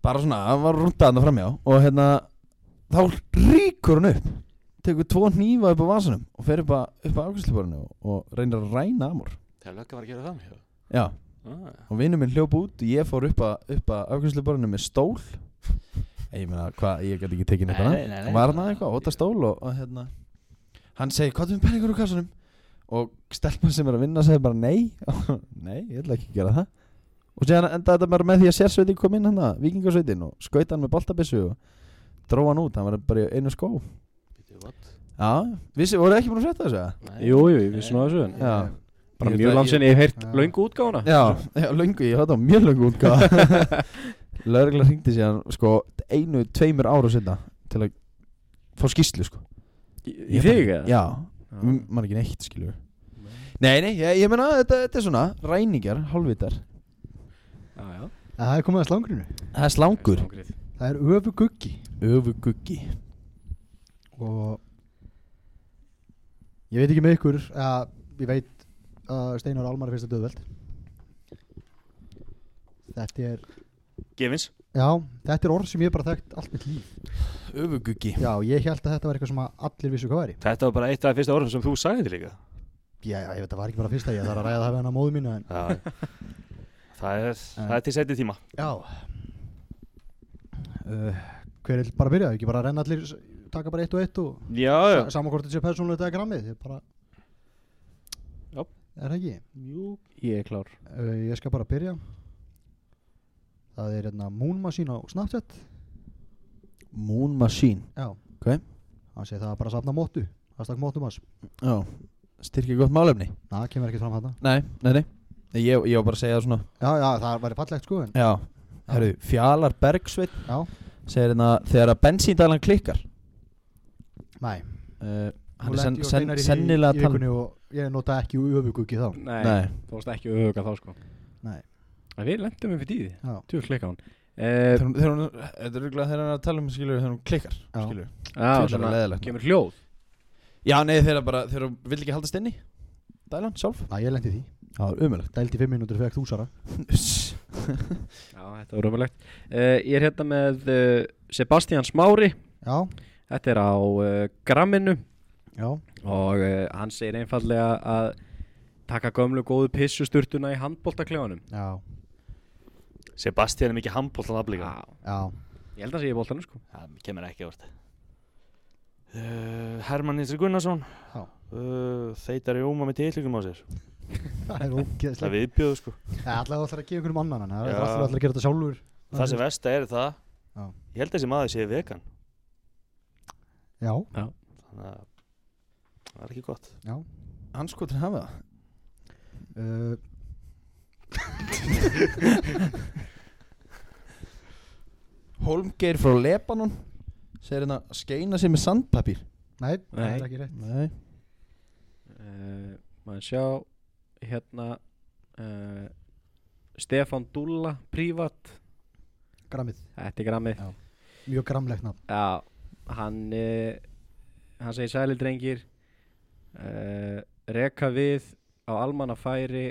Speaker 6: bara svona, hann var rúndað hann framhjá og hérna þá ríkur hann upp tekur tvo hnífa upp á vasanum og fer upp að upp á ákvæmstliborinu og, og reynir að ræna amor
Speaker 2: Þegar lögga var að gera það mér
Speaker 6: já,
Speaker 2: Ah.
Speaker 6: og vinnu minn hljóp út og ég fór upp að, upp að afkvæmsluborinu með stól Eh, ég meina hvað, ég gæti ekki tekið neitt
Speaker 2: Nei,
Speaker 6: annað
Speaker 2: nei, nei, nei.
Speaker 6: hann var hann að eitthvað, óta stól og, og hérna hann segi, hvað er með peningur úr kassanum og stelpa sem er að vinna segi bara nei nei, ég ætla ekki að gera það og síðan endaði þetta bara með því að sérsveitin kom inn hann að vikingasveitin og skauta hann með boltabissu og dróða hann út, hann var bara í einu skó já, vissi, voru ekki búin að frétta þessu eða?
Speaker 5: Jú, jú, við svona þessu
Speaker 6: já,
Speaker 4: eh,
Speaker 5: Bara
Speaker 6: Ég
Speaker 5: mjög
Speaker 6: ætla-
Speaker 5: langt sinni, ég hef heyrt
Speaker 4: Já.
Speaker 5: löngu útgáfuna
Speaker 6: Já, já, löngu, ég höfði á mjög löngu útgáð Lörgla hringdi síðan sko einu, tveimur ára sinna til að fá skýslu sko
Speaker 5: Í hérna. Mm. í
Speaker 6: Ég
Speaker 5: þig
Speaker 6: bara-
Speaker 5: eða?
Speaker 6: Já, m- maður ekki neitt skilur Nei, nei, ég, ég meina þetta, þetta er svona ræningar, hálfvitar
Speaker 5: Já, já
Speaker 4: En Það er komið að slangrinu
Speaker 6: Það er slangur
Speaker 5: Ágrið.
Speaker 4: Það er öfu guggi
Speaker 6: Öfuguggi
Speaker 4: og Ég veit ekki með ykkur að ég veit að Steinar Almar finnst þetta döðveld Þetta er
Speaker 2: Gefins
Speaker 4: Já, þetta er orð sem ég hef bara þekkt allt mitt líf
Speaker 6: Öfuguggi
Speaker 4: Já, ég held að þetta var eitthvað sem að allir vissu hvað væri
Speaker 2: Þetta var bara eitt af það fyrsta orðum sem þú sagði þetta líka
Speaker 4: Já, ég veit að það var ekki bara fyrsta ég þarf að ræða það við hann á móðu mínu en
Speaker 2: Já Það er, það er til setni tíma
Speaker 4: Já uh, Hver er bara að byrja? Ekki bara að renna allir taka bara eitt og eitt og
Speaker 2: Já, já
Speaker 4: sa- sama hvort þetta sé persónulegt eða grammið Ég bara
Speaker 2: Já.
Speaker 4: Er það ekki?
Speaker 2: Jú
Speaker 5: Ég er klár
Speaker 4: Uh, ég skal bara byrja Það er hérna Moon Machine á Snapchat
Speaker 6: Moon Machine
Speaker 4: Já
Speaker 6: Ok.
Speaker 4: Hann segir það er bara að safna móttu Hashtag móttum hans
Speaker 6: Já Styrkja gott málefni
Speaker 4: Na, kemur ekkert fram þarna
Speaker 6: Nei, nei, nei Nei, Ég, ég var bara að segja það svona
Speaker 4: Já, já, það væri fallegt sko en
Speaker 6: Já Herru, Fjalar Bergsveit
Speaker 4: Já.
Speaker 6: Segir hérna Þegar að bensíndalan klikkar
Speaker 4: Nei
Speaker 6: uh,
Speaker 4: Nú
Speaker 6: Hann er
Speaker 4: lenti ég
Speaker 6: sen,
Speaker 4: og
Speaker 6: sen,
Speaker 4: Steinar í því
Speaker 6: sennilega
Speaker 4: í
Speaker 6: að tala
Speaker 4: vikunni og ég nota ekki öfugugi þá
Speaker 5: Nei,
Speaker 6: Nei
Speaker 5: þú varst ekki auðvöka þá sko
Speaker 4: Nei.
Speaker 5: En við lendum við fyrir tíði
Speaker 4: Já.
Speaker 5: Tjú klikka hún uh,
Speaker 6: Þegar hún- þegar hún- Þetta er rúglega þegar hann er að tala um skilur Þegar hún klikkar
Speaker 4: Já.
Speaker 6: skilur
Speaker 5: á,
Speaker 6: Tjóðlega
Speaker 5: svona,
Speaker 6: leiðilegt.
Speaker 5: Kemur hljóð
Speaker 6: Já, nei, þegar bara Þegar hún vill ekki haldast inni Dælan, sjálf
Speaker 4: Næ, ég lendi því
Speaker 6: Já, það er umjöld
Speaker 4: Dældi fimm mínútur fekk þú Sara
Speaker 5: Já, þetta var röfulegt uh, Ég er hérna með uh, Sebastian Smári
Speaker 4: Já,
Speaker 5: Þetta er á uh, gramminu
Speaker 4: já
Speaker 5: og uh, hann segir einfallega að taka gömlu góðu pissusturtuna í handbóltaklefanum
Speaker 4: Já,
Speaker 2: Sebastian er mikið handbóltan af
Speaker 6: Ah.
Speaker 2: líka
Speaker 4: já
Speaker 5: Ég held að sé í bóltanum sko
Speaker 2: Það kemur ekki orð uh, Hermann Nýtri Gunnarsson
Speaker 4: Já.
Speaker 2: uh, Þeitar í óma með tilíkum á sér
Speaker 4: Það er
Speaker 2: Það
Speaker 4: ógeðslega
Speaker 2: er viðbjöðu sko
Speaker 4: Alltaf ætlar að gefa einhverjum annan en Það er
Speaker 2: Já.
Speaker 4: alltaf ætlar að gera þetta sjálfur
Speaker 2: Það sem versta er það
Speaker 4: Já.
Speaker 2: Ég held að þessi maður sé vegan
Speaker 4: Já,
Speaker 2: Þannig að það er ekki gott
Speaker 4: já
Speaker 6: Anskotin hafa það
Speaker 4: uh,
Speaker 6: Holmgeir frá Lebanon Segir hérna Skeina sér með sandpapír
Speaker 4: Nei, það
Speaker 5: Nei.
Speaker 4: er ekki rétt
Speaker 6: Nei
Speaker 5: uh, maður sjá hérna uh, Stefan Dúlla prívat,
Speaker 4: Grammið
Speaker 5: þetta er grammið
Speaker 4: Mjög grammlegt nafn
Speaker 5: já, hann uh, hann segir sæli drengir uh, reka við á almannafæri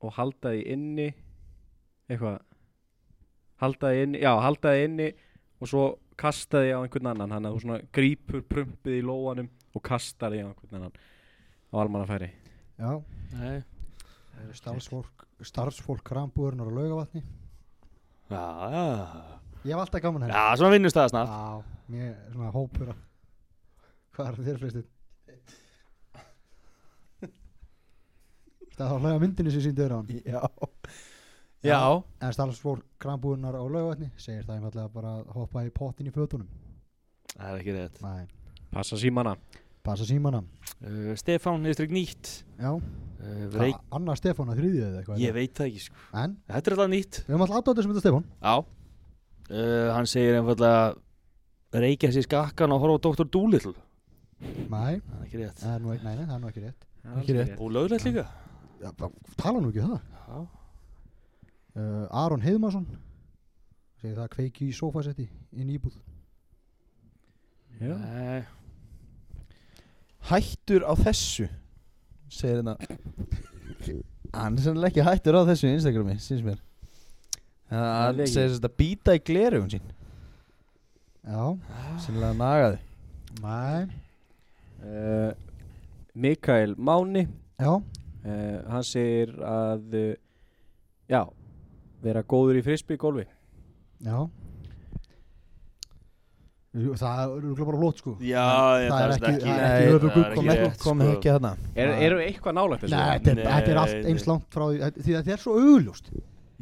Speaker 5: og halda því inni eitthvað halda því inni, já, halda því inni og svo kasta því á einhvern annan hann að þú svona grípur prumpið í lóanum og kastar því á einhvern annan á almannafæri
Speaker 4: Já,
Speaker 2: Nei
Speaker 4: það eru starfsfólk Starfsfólk krambúðurnar á laugavatni
Speaker 2: Já, já
Speaker 4: Ég hef alltaf gaman henni
Speaker 2: Já, svona vinnust það snart
Speaker 4: Já, mér er svona hópur að Hvað er þér fyrstu? Það var hlæða myndinni sem síndi þér á hann
Speaker 6: Já Já
Speaker 4: En starfsfólk krambúðunar á laugavatni segir það einfallega bara að hoppa í pottin í fötunum
Speaker 2: Það er ekki rétt
Speaker 4: Nei,
Speaker 5: passa símana
Speaker 4: passa símana
Speaker 2: uh, Stefán Nýtri Nýtt
Speaker 4: Já,
Speaker 2: uh,
Speaker 4: Reik...
Speaker 2: Reik
Speaker 4: Anna Stefána þriðið eða eitthvað
Speaker 2: Ég veit það ekki sko
Speaker 4: En
Speaker 2: Þetta er alltaf nýtt
Speaker 4: við höfum alltaf aðdóttir sem þetta Stefán
Speaker 2: Já uh, Hann segir einfallega Reykja sér skakkan og horfa á Dr. Doolittle
Speaker 4: Nei,
Speaker 2: Það er ekki rétt
Speaker 4: það er nú, ekki- nei, nei, það er nú ekki rétt
Speaker 6: Ekki rétt.
Speaker 2: Ólöglegt líka
Speaker 4: Já, bara Tala nú ekki um það
Speaker 2: Já
Speaker 4: uh, Aron Heiðmarsson segir það kveiki í sofasetti inn í íbúð
Speaker 5: Já.
Speaker 2: Nei
Speaker 6: Hættur á þessu Segir hérna Hann er sennilega ekki hættur á þessu í Instagrami Sýns mér Þannig að
Speaker 5: Nei,
Speaker 6: Hann
Speaker 5: ekki.
Speaker 6: segir þetta býta í glerugun sín
Speaker 4: Já,
Speaker 6: Sennilega nagaði
Speaker 4: nei
Speaker 5: Uh, Mikael Máni
Speaker 4: Já,
Speaker 5: uh, hann segir að uh, já, vera góður í frisbygólfi
Speaker 4: já Jú, Það eru örugglega bara lót sko
Speaker 2: Já,
Speaker 4: Það
Speaker 2: ég,
Speaker 4: er
Speaker 2: það er
Speaker 4: ekki-
Speaker 2: ekki
Speaker 4: það er
Speaker 2: Nei,
Speaker 4: ekki öfugur,
Speaker 2: það er
Speaker 4: kom
Speaker 6: Kom
Speaker 2: ekki
Speaker 6: ekki,
Speaker 2: rétt,
Speaker 6: kom
Speaker 2: sko.
Speaker 6: ekki þarna
Speaker 5: er,
Speaker 4: Ah.
Speaker 5: eru eitthvað nálægt
Speaker 4: Nei,
Speaker 5: þessu?
Speaker 4: þetta er, þetta er allt
Speaker 2: Nei,
Speaker 4: eins
Speaker 2: nei.
Speaker 4: langt frá því þetta- Því þetta er svo augljóst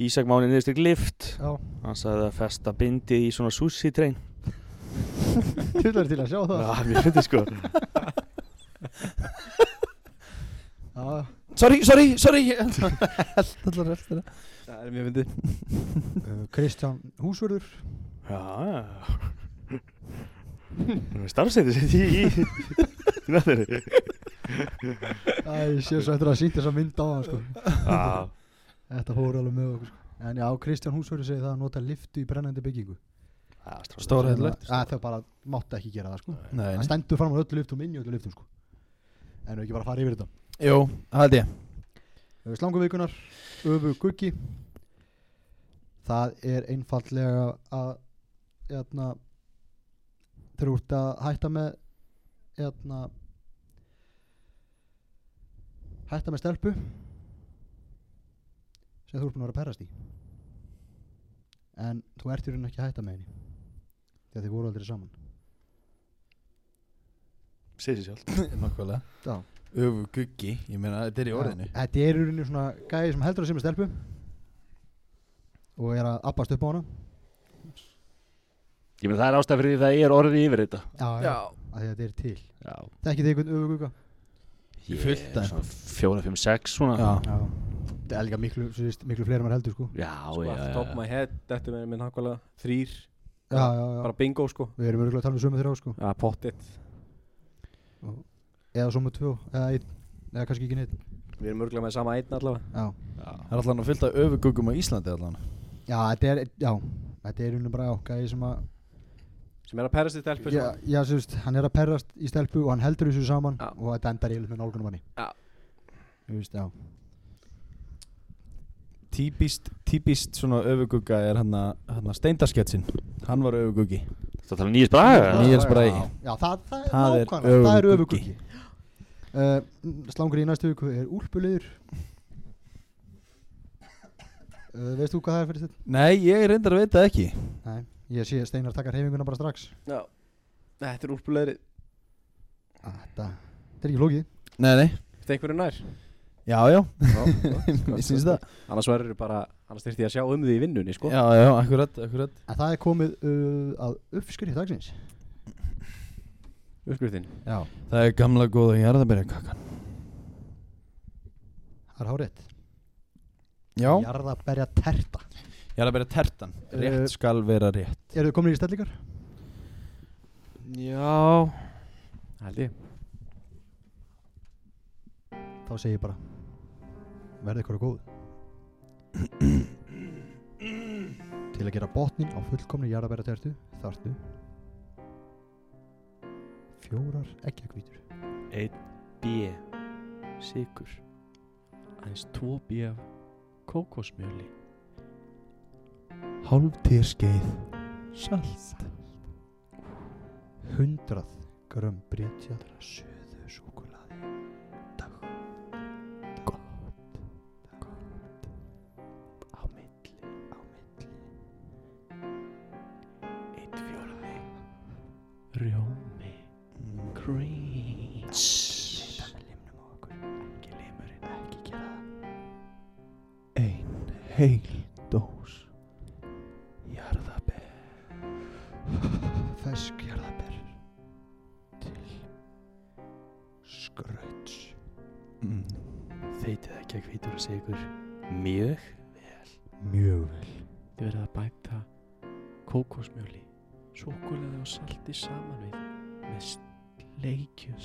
Speaker 2: Ísak Máni Nýstrik Lift
Speaker 4: Já,
Speaker 2: Hann sagði að festa bindi í svona sushi trein
Speaker 4: tullar til að sjá það
Speaker 2: Já, mér finnst sko
Speaker 4: Já,
Speaker 6: Sorry, sorry, sorry Allar eftir það
Speaker 5: það er mjög myndið
Speaker 4: uh, Kristján Húsvörður
Speaker 2: Já Nú er starfsætið sitt í í í næðinni
Speaker 4: Æ, ég sé svo eftir að sýnt þess að mynda á hann sko
Speaker 2: Já
Speaker 4: Þetta fór alveg með okkur sko En já, Kristján Húsvörður segir það að nota liftu í brennandi byggingu
Speaker 6: Stóra hérna.
Speaker 4: Sem að- að Þau bara mátti ekki gera það sko
Speaker 6: Nei,
Speaker 4: Það
Speaker 6: nei.
Speaker 4: stendur fram á öllu lyftum, inn í öllu lyftum sko en við ekki bara að fara yfir þetta
Speaker 6: Jú, það held ég
Speaker 4: Eh, Slanguvíkunar, Öfu Guggi Það er einfallega að hérna, jæna, þeir úrt að hætta með hérna, jæna, hætta með stelpu sem þú ert búin að vera að perrast í en þú ert í raun ekki að hætta með henni því að þið voru aldrei saman
Speaker 2: Sér sér sjálf
Speaker 6: Nákvæmlega
Speaker 4: Já.
Speaker 6: Öfu guggi, ég meina þetta er í orðinu
Speaker 4: Já, Eh, Þetta er í rauninni svona gæði sem heldur að sem er stelpu og er að abbast upp á hana
Speaker 3: Ég meina það er ástæð fyrir því það er orðið yfir þetta
Speaker 4: Já, já. að því að þetta er til
Speaker 3: Já
Speaker 4: Þekkið þið einhvern öfuguga?
Speaker 3: Ég
Speaker 6: Fullt af þeim.
Speaker 3: svona Fjóra, fimm, sex svona
Speaker 6: Já.
Speaker 4: Já Það er líka miklu, svo veist, miklu fleiri en maður heldur sko
Speaker 3: Já,
Speaker 5: Sko,
Speaker 3: já,
Speaker 5: off the
Speaker 3: já,
Speaker 5: top of my head, þetta er minn hakkulega þrýr,
Speaker 4: Já, já, já
Speaker 5: bara bingo sko Ah,
Speaker 4: Við erum örgulega að tala um sömu þrjá sko
Speaker 5: Já, pottitt
Speaker 4: Eða sömu tvö, eða einn Eða kannski ekki neitt
Speaker 5: Við erum örgulega með sama einn allavega
Speaker 4: Já
Speaker 3: já.
Speaker 6: Það er allan að fylta öfu guggum á Íslandi allan
Speaker 4: Já, þetta er, já Þetta er unni bara ákæði sem að
Speaker 5: Sem er að perra sér telpu sko.
Speaker 4: Já, já, sem veist, hann er að perrast í stelpu og hann heldur þessu saman
Speaker 5: Já.
Speaker 4: og þetta endar í með nálgunum manni
Speaker 5: Já.
Speaker 4: Þú veist, já
Speaker 6: Típist, típist svona öfu gugga er hann að steindasketsin Hann var öfu guggi
Speaker 3: Það tala nýjast braga
Speaker 6: Níels Nýjast- Bragi.
Speaker 4: Já, það, það,
Speaker 6: Það
Speaker 4: er
Speaker 6: er
Speaker 4: nákvæmlega, það er
Speaker 6: öfuguggi.
Speaker 4: öfuguggi uh, Slangur í næstu viku er úlpuliður uh, Veist þú hvað það er fyrir þetta?
Speaker 6: Nei, ég reyndar að veita ekki
Speaker 4: Nei, ég sé að Steinar takkar heifinguna bara strax
Speaker 5: Já Þetta er úrpulegri
Speaker 4: Ah, Þetta þetta er ekki flókið
Speaker 6: Nei, nei
Speaker 5: Þetta er einhverju nær
Speaker 6: Já, já,
Speaker 5: Mér
Speaker 6: ég syns það
Speaker 5: Annars verður bara Annars þurfti ég að sjá um því í vinnunni sko
Speaker 6: Já, já, akkurat, akkurat
Speaker 4: En það er komið uh, að uppskrið dagsins
Speaker 5: Uppskriftin
Speaker 4: Já
Speaker 6: Það er gamla góða jarðabæra kakan
Speaker 4: Það er hárétt
Speaker 6: Já
Speaker 4: Jarðaberja terta
Speaker 6: Jarðabæra tertan
Speaker 4: Eh,
Speaker 6: Rétt skal vera rétt
Speaker 4: Eru Eh, þið komin í stellingar?
Speaker 2: Já
Speaker 5: Held ég
Speaker 4: Þá segi ég bara Verði ykkur að góð Til að gera botnin á fullkomni jarðabæra tertu Þartu Fjórar eggjakvítur
Speaker 2: B Sigur Aðeins 2 B af kókosmjöli
Speaker 6: Hálf týrskeið Salt
Speaker 4: 100 grömm brytja Söðu súkulaði Dag Gott Gott Á milli Á milli
Speaker 2: Eitt fjórði Rjómi Cream Ekki limnum á okkur Ekki limurinn Ekki gera
Speaker 6: Ein heil dós Jarðabæra
Speaker 4: Fesk jarðaber Til Skrauts
Speaker 6: mm.
Speaker 2: Þeitið ekki að hvítur og sigur Mjög
Speaker 4: Mjög vel
Speaker 2: Þið verðið að bæta kókosmjöli Súkulega og salti saman við Með sleikju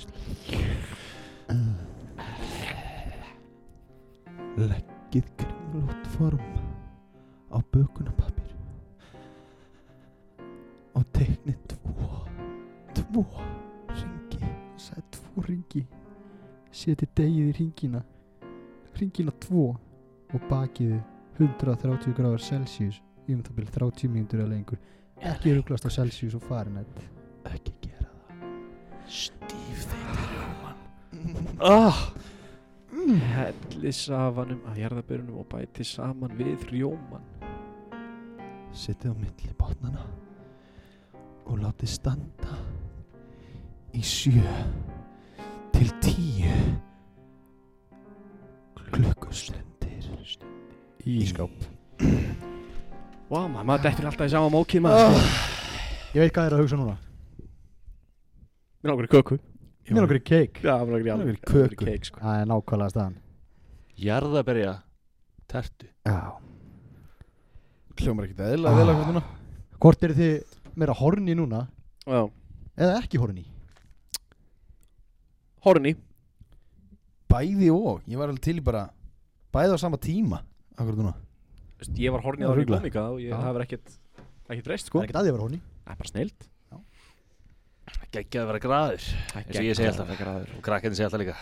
Speaker 6: Leggið kringlótt form á bökunapapir og teiknið tvo tvo ringi
Speaker 4: Sæði tvo ringi Seti degið í ringina Ringina tvo Og bakiði 130 gráður Celsius Í um það byrja 30 mínútur eða lengur Ekki ruglast á Celsius og Fahrenheit
Speaker 6: ekki gera
Speaker 2: Stíf þeitið rjóman Ah Helli safanum af jarðabörunum og bæti saman við rjóman
Speaker 6: það setið á milli botnana og látið standa í sjö til tíu klukkustundir í skáp
Speaker 5: Vá maður, maður dettur alltaf í sama mókið maður
Speaker 2: Ah.
Speaker 5: sko.
Speaker 4: Ég veit hvað er að hugsa núna
Speaker 5: Mér langar í köku
Speaker 4: Mér er okkur í keik
Speaker 5: Já, mér langar í
Speaker 6: Mér langar í
Speaker 5: alveg- langar í
Speaker 6: köku.
Speaker 5: keik, sko.
Speaker 4: Það er nákvæmlega staðan
Speaker 3: Jarðaberja Tertu
Speaker 4: Já
Speaker 6: hljómar ekkert eðla vel að koma núna
Speaker 4: Hvort eru þið meira horni núna
Speaker 5: Já
Speaker 4: Eða ekki horni
Speaker 5: Horni
Speaker 6: bæði og, ég var alveg til í bara bæði á sama tíma akkurat núna
Speaker 5: Veist, Ég var horni
Speaker 6: Já,
Speaker 5: að það
Speaker 6: rugla.
Speaker 5: komika og ég
Speaker 4: Já.
Speaker 5: það var ekkert Ekkert reist
Speaker 4: Það
Speaker 5: sko
Speaker 4: er ekkert að því að vera horni
Speaker 5: Það er bara snild
Speaker 4: Já.
Speaker 3: Gekkið að vera graður eins og ég segi alltaf og krakkarnir segja alltaf líka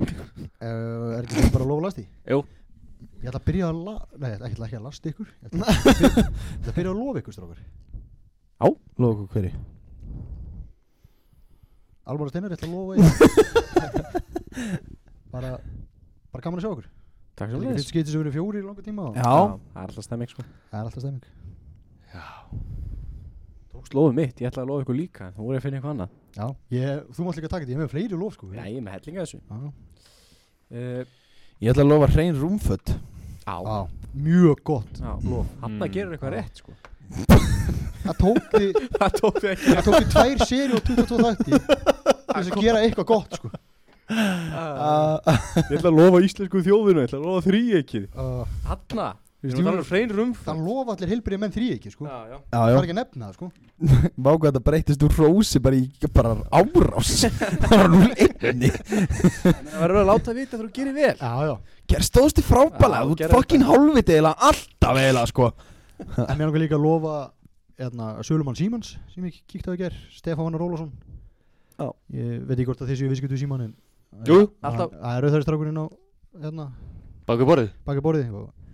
Speaker 4: Uh, er ekki bara að lofa lasti?
Speaker 3: Jú.
Speaker 4: Ég ætla að byrja að la... Nei, ég ætla ekki að lasta ykkur Ég ætla ég ætla að byrja að lofa ykkur, strókar
Speaker 6: Lóku hverju
Speaker 4: Alvar og Steinar, ég ætla að lofa ykkur Bara Bara gaman að sjá okkur
Speaker 5: Takk
Speaker 4: Það
Speaker 5: sem
Speaker 4: er
Speaker 5: leiðis
Speaker 4: fyrst skipti sem við erum fjóri í langa tíma og-
Speaker 6: Já,
Speaker 5: Það er alltaf stemming sko
Speaker 4: Það er alltaf stemming
Speaker 5: Tókst lofið mitt, ég ætlaði að lofa ykkur líka en Þú voru að finna eitthvað annað
Speaker 4: Já ég, Þú mátt líka taka þetta, ég er með fleiri lof, sko
Speaker 5: Já, ég er með hellinga þessu
Speaker 4: Já.
Speaker 5: uh,
Speaker 6: ég ætla að lofa hrein rúmföt
Speaker 5: Á,
Speaker 4: Já, Mjög gott
Speaker 5: á, lof Hanna
Speaker 3: Mm.
Speaker 5: gerir eitthvað rétt sko
Speaker 4: Það tók þið
Speaker 5: Það tók þig ekki
Speaker 4: Það tók þið tvær séri og 22 þætti til þess að gera eitthvað gott sko
Speaker 5: Ah, Ég ætla að lofa íslensku þjóðinu, ég ætla að lofa þrý ekki
Speaker 4: uh,
Speaker 5: Hanna,
Speaker 4: Við
Speaker 5: við
Speaker 4: stífum-
Speaker 5: erum þannig hrein rumfa
Speaker 4: Það lofa allir heilbrið menn þrý ekki sko
Speaker 5: Já, já
Speaker 6: Já,
Speaker 4: Það
Speaker 6: já
Speaker 4: er ekki að nefna það sko
Speaker 6: Vá hvað þetta breytist úr rósi bara í bara árás bara núl einni
Speaker 5: Það verður að láta vita þegar þú gerir vel
Speaker 4: Já, já
Speaker 6: Ger stóðst í frábæla
Speaker 5: Já,
Speaker 6: Þú
Speaker 5: gerðu
Speaker 6: fokkin hálfviti eiginlega alltaf eiginlega sko
Speaker 4: En mér langar líka að lofa hérna, Sölumann Símans sem ég kíkti á í ger Stefán Rólason
Speaker 5: Já.
Speaker 4: Ég veit ekki hvort að þessi ég viðskiptu Símann en
Speaker 3: Jú, jú.
Speaker 4: Hann-
Speaker 5: Alltaf.
Speaker 4: Það er auðvitaðstrákurinn á hérna,
Speaker 3: Baku borðið
Speaker 4: baki borðið og,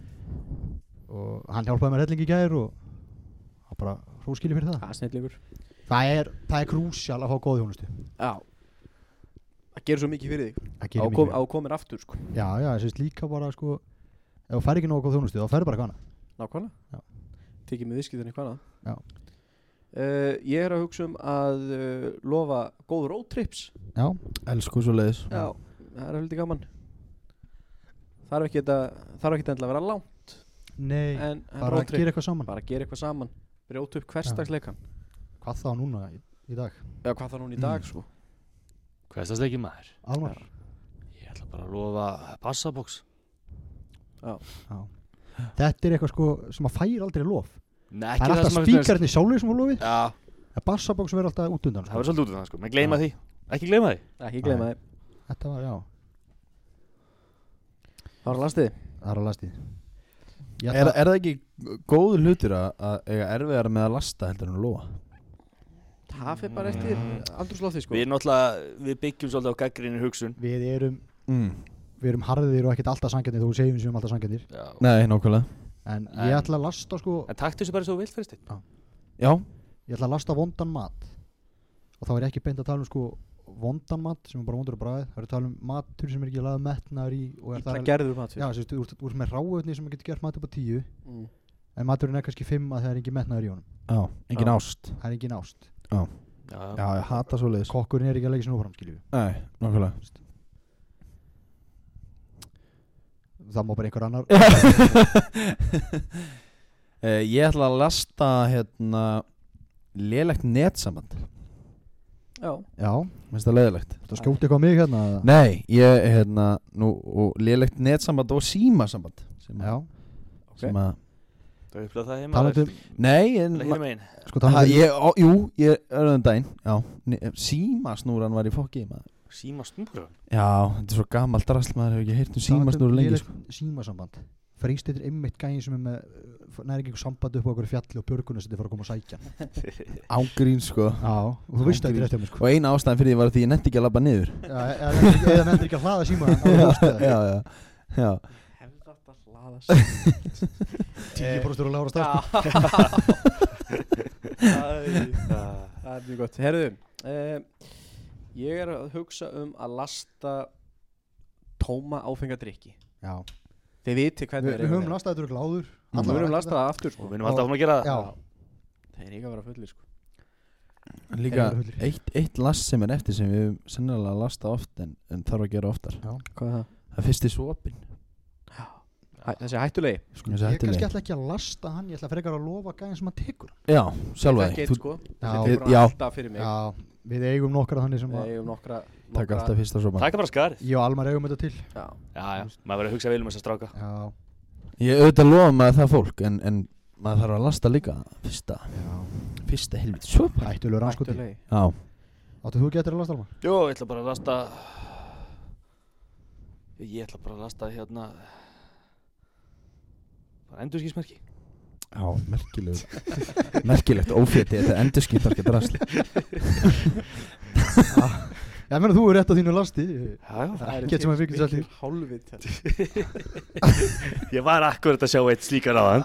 Speaker 4: og hann hjálpaði mér hellingi í gær og það bara hróskili fyrir það
Speaker 5: Það er snillíkur
Speaker 4: Það er, það er krúsjál að fá góð hjónustu
Speaker 5: Já Það gerir svo mikið fyrir þig
Speaker 4: Það
Speaker 5: Á
Speaker 4: gerir
Speaker 5: kom-
Speaker 4: mikið
Speaker 5: á komin aftur sko
Speaker 4: fyrir. Já, já, þessi líka bara sko ef þú fær ekki nógu góð þjónustu þá fær bara hana Já.
Speaker 5: Nákvæmlega Tekið með viðskiptinni hvað annað
Speaker 4: Já.
Speaker 5: uh, Ég er að hugsa um að uh, lofa góð road trips
Speaker 4: Já,
Speaker 6: Elsku svo leiðis
Speaker 5: Já, það er heldur gaman Þarf ekki þetta Þarf ekki þetta að vera langt
Speaker 4: nei,
Speaker 5: En, en
Speaker 4: bara
Speaker 5: road
Speaker 4: að
Speaker 5: trip.
Speaker 4: gera eitthvað saman
Speaker 5: Eh, Bara að gera eitthvað saman Brjóta upp hverstagsleikan
Speaker 4: Hvað þá núna í, í dag?
Speaker 5: Já, hvað það núna í
Speaker 4: Mm.
Speaker 5: dag sko
Speaker 3: Hvað er það sleikið maður?
Speaker 4: Almar?
Speaker 3: Ég ætla bara að lofa passaboks
Speaker 4: Þetta er eitthvað sko sem að fær aldrei lof
Speaker 3: Nei,
Speaker 4: Það er
Speaker 3: það sem
Speaker 4: alltaf
Speaker 3: að finnst mér-
Speaker 4: spíkarnir sjálfur sem fór lofið
Speaker 3: Já,
Speaker 4: Það er bassabók sem er alltaf út undan
Speaker 3: það
Speaker 4: sko.
Speaker 3: verður svolítið út af það sko Menn gleyma því Ekki gleyma því
Speaker 5: Ekki gleyma þið
Speaker 4: Þetta var, já,
Speaker 5: Það var lastið
Speaker 4: það er að lasti Ég
Speaker 6: er,
Speaker 4: ætla,
Speaker 6: er það ekki góður hlutur að, að eiga erfiðara með að lasta heldur en að lofa?
Speaker 5: Það fyrir bara eftir
Speaker 4: Mm.
Speaker 5: andrúsloftið sko
Speaker 3: Við erum náttúrulega, við byggjum svolítið á gaggrinni hugsun
Speaker 4: Við erum,
Speaker 6: Mm.
Speaker 4: við erum harðir og ekkert alltaf sangjarnir Þú segjum sem alltaf sangjarnir
Speaker 3: Já
Speaker 6: Nei, nákvæmlega
Speaker 4: en,
Speaker 3: En-
Speaker 4: ég ætla að lasta sko
Speaker 3: En taktu þessu bara svo vilt fyrir stið
Speaker 6: Já,
Speaker 4: Ég ætla að lasta vondan mat Og þá er ég ekki beint að tala um sko vondan mat sem er bara vondur og bræð Það er að tala um matur sem er ekki laga metnaður í og er
Speaker 5: Ítla
Speaker 4: þar-
Speaker 5: gerður matur
Speaker 4: Já, sérst, úr, úr með ráöfni sem getur gert mat upp á tíu
Speaker 5: mm.
Speaker 4: En maturinn er kannski fimm að það er engin metnaður í honum
Speaker 6: já, engin
Speaker 5: Já.
Speaker 6: ást
Speaker 4: Það er engin ást
Speaker 3: Já,
Speaker 6: Já, ég hata svo leiðis
Speaker 4: Kokkurinn er ekki að leggja sinni áfram skilju
Speaker 6: Nei, nákvæmlega
Speaker 4: Það má bara einhver annar
Speaker 6: Eh, Ég ætla að lasta hérna lélegt netsamband
Speaker 5: Já
Speaker 4: Já,
Speaker 6: Mér finnst það leiðilegt
Speaker 4: það skjóti eitthvað á mig hérna eða?
Speaker 6: Nei, ég hérna nú, og lélegt netsamband og símasamband sem,
Speaker 4: Já,
Speaker 6: að- sem að
Speaker 3: það er upplega það heima
Speaker 4: talandi um
Speaker 6: Nei, en,
Speaker 3: Lekkir megin
Speaker 4: sko
Speaker 6: ha,
Speaker 4: talandi um
Speaker 6: ég, ó, jú, ég öðrum daginn Já, ne- símasnúran var í fokki maður.
Speaker 3: Síma snúra
Speaker 6: Já, þetta er svo gammal drasl maður hefur ekki heyrt um símasnúru lengi sko.
Speaker 4: símasamband Freystir er einmitt gæðin sem er með uh, næri ekki einhver samband upp á okkur fjalli og björguna sem þið fara að koma að sækja hann.
Speaker 6: Ágrín sko
Speaker 4: Já, og þú veist það ekki rétt hjá mér sko
Speaker 6: Og eina ástæðan fyrir því var því ég netti ekki að labba niður
Speaker 4: Já, e, eða nenntir- eða nefndir ekki að hlaða síma
Speaker 6: Já,
Speaker 4: hann
Speaker 6: já, já
Speaker 5: Hefði þetta hlaðast
Speaker 4: Tíu brostur og lára stað sko.
Speaker 5: Það er mjög gott Herðu uh, Ég er að hugsa um að lasta tóma áfengadrykki
Speaker 4: Já,
Speaker 5: Þið viti
Speaker 4: við
Speaker 5: hvernig
Speaker 4: við höfum lastað þetta örugglega áður
Speaker 5: Við
Speaker 4: Allavega.
Speaker 5: höfum lastað það aftur
Speaker 3: Og
Speaker 5: sko.
Speaker 3: við erum alltaf áfram að gera það
Speaker 4: Já,
Speaker 5: Það er ekki að vera fullir sko.
Speaker 6: Líka
Speaker 4: Eru hullir.
Speaker 6: eitt, eitt last sem er eftir sem við höfum sennilega að lasta oft en, en þarf að gera oftar
Speaker 5: Hvað er það?
Speaker 6: Það er fyrsti svopin
Speaker 5: Hæ, þessi hættulegi
Speaker 6: sko, þessi
Speaker 4: ég kannski
Speaker 6: hættulegi.
Speaker 4: ætla ekki að lasta hann Ég ætla frekar að lofa gæðin sem hann tekur hann.
Speaker 6: Já, sjálfa
Speaker 5: Þekki
Speaker 6: þig
Speaker 5: eitt
Speaker 6: Þú
Speaker 5: sko
Speaker 4: Já.
Speaker 5: Þetta er
Speaker 6: Já.
Speaker 5: bara alltaf fyrir mig
Speaker 4: Já, við eigum nokkra þannig sem að
Speaker 5: Ég um nokkra
Speaker 6: taka
Speaker 5: nokkra-
Speaker 6: alltaf fyrsta svopan
Speaker 3: Takk bara skarið
Speaker 4: Ég og Almar eigum þetta til
Speaker 5: Já.
Speaker 3: Já, já, maður verður að hugsa vel um þessa stráka
Speaker 4: Já,
Speaker 6: Ég auðvitað lofa maður það fólk en, en maður þarf að lasta líka fyrsta, fyrsta helvit svopan
Speaker 4: hættulegur anskoti
Speaker 5: Hættulegi
Speaker 6: Já,
Speaker 4: Áttu þú getur að lasta Almar?
Speaker 3: Jó, ég ætla bara að lasta Ég ætla bara að lasta hérna Bara endurskísmerki
Speaker 6: Já, merkileg Merkilegt ófétti Þetta endur skiptar ekki drasli
Speaker 4: Ég meina þú er rétt á þínu lasti
Speaker 2: Það
Speaker 4: Ekkert sem að virkist allir.
Speaker 2: Hálfið
Speaker 9: Ég var akkurat að sjá eitt slíkan á hann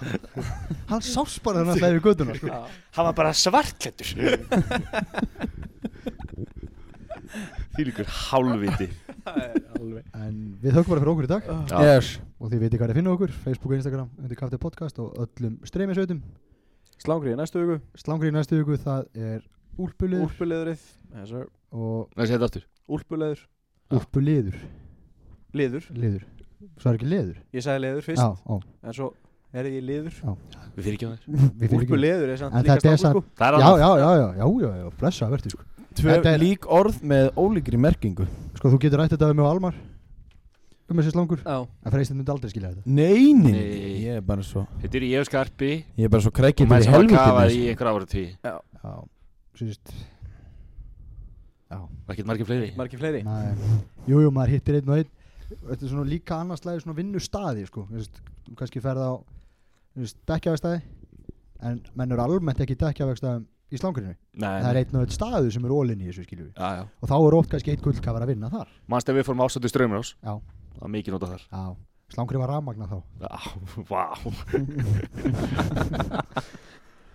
Speaker 4: Hann sást bara hann alltaf yfir göttuna sko.
Speaker 9: Hann var bara svartklættur Þýlíkur hálfviti
Speaker 4: En við þökkum bara fyrir okkur í dag
Speaker 3: Já.
Speaker 6: Yes
Speaker 4: Og þið veitir hvað er að finna okkur Facebook og Instagram undir Kafti Podcast og öllum streymisveitum
Speaker 5: Slangrið næstu hugu,
Speaker 4: Slangri í næstu viku það er Úlpuliður
Speaker 5: úlpuleðrið Yes, sir.
Speaker 4: og
Speaker 3: Það sé þetta aftur
Speaker 5: Úlpuleður,
Speaker 4: Úlpuliður
Speaker 5: liður
Speaker 4: Liður Svo er ekki leður
Speaker 5: Ég sagði liður fyrst,
Speaker 4: Já, ó,
Speaker 5: en svo er ég liður
Speaker 9: Við fyrir ekki á þér
Speaker 4: við fyrir ekki
Speaker 5: Úlpuleður er samt
Speaker 4: En
Speaker 5: líka
Speaker 4: þetta er
Speaker 5: slangur sko
Speaker 9: Það er
Speaker 4: Já,
Speaker 9: annað
Speaker 4: já, já, já, já, já, já, blessa verður sko
Speaker 6: Tvö
Speaker 4: Þetta er-
Speaker 6: lík orð með ólíkri merkingu
Speaker 4: Sko, þú getur rætt þetta um mig og Almar Um þessi slangur
Speaker 5: Já,
Speaker 4: En freistinn myndi aldrei skilja þetta
Speaker 6: Nei, nei,
Speaker 3: Nei.
Speaker 6: Ég er bara svo
Speaker 3: Þetta er ég og Skarpi
Speaker 6: Ég er bara svo
Speaker 3: Og
Speaker 6: krækjandi
Speaker 3: maður
Speaker 6: í
Speaker 3: sem var
Speaker 6: helvítinu
Speaker 3: kafað í
Speaker 6: sko.
Speaker 3: einhver ára tí
Speaker 4: Já, sýst
Speaker 3: Og ekkert margir fleiri
Speaker 5: margir fleiri
Speaker 4: Nei, jú, jú, maður hittir einn og einn Þetta er svona líka annarslæði svona vinnustaði sko Þú veist, þú kannski ferð á dekkjafækstaði En menn eru almennt ekki dekkjafækstaðum í slangurinu
Speaker 3: Nei,
Speaker 4: Það er einn og einn staðu sem er ólinn í þessu skiljum við
Speaker 3: Já, já
Speaker 4: Og þá er oft kannski einn gullkafar að vinna þar
Speaker 3: Manstu að við fórum ástættu ströymur ás
Speaker 4: Já.
Speaker 3: Það var mikið nota þar
Speaker 4: Já, slangurinn var rafmagna þá
Speaker 3: Já, vá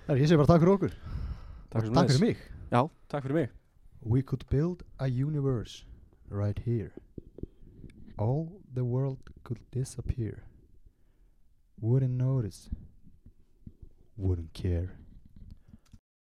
Speaker 4: Það er ég sem bara takk fyrir okkur
Speaker 5: Takk
Speaker 4: Takk fyrir mig
Speaker 5: Já, takk fyrir mig
Speaker 4: We could build a universe right here. All the world could disappear. Wouldn't notice. Wouldn't care.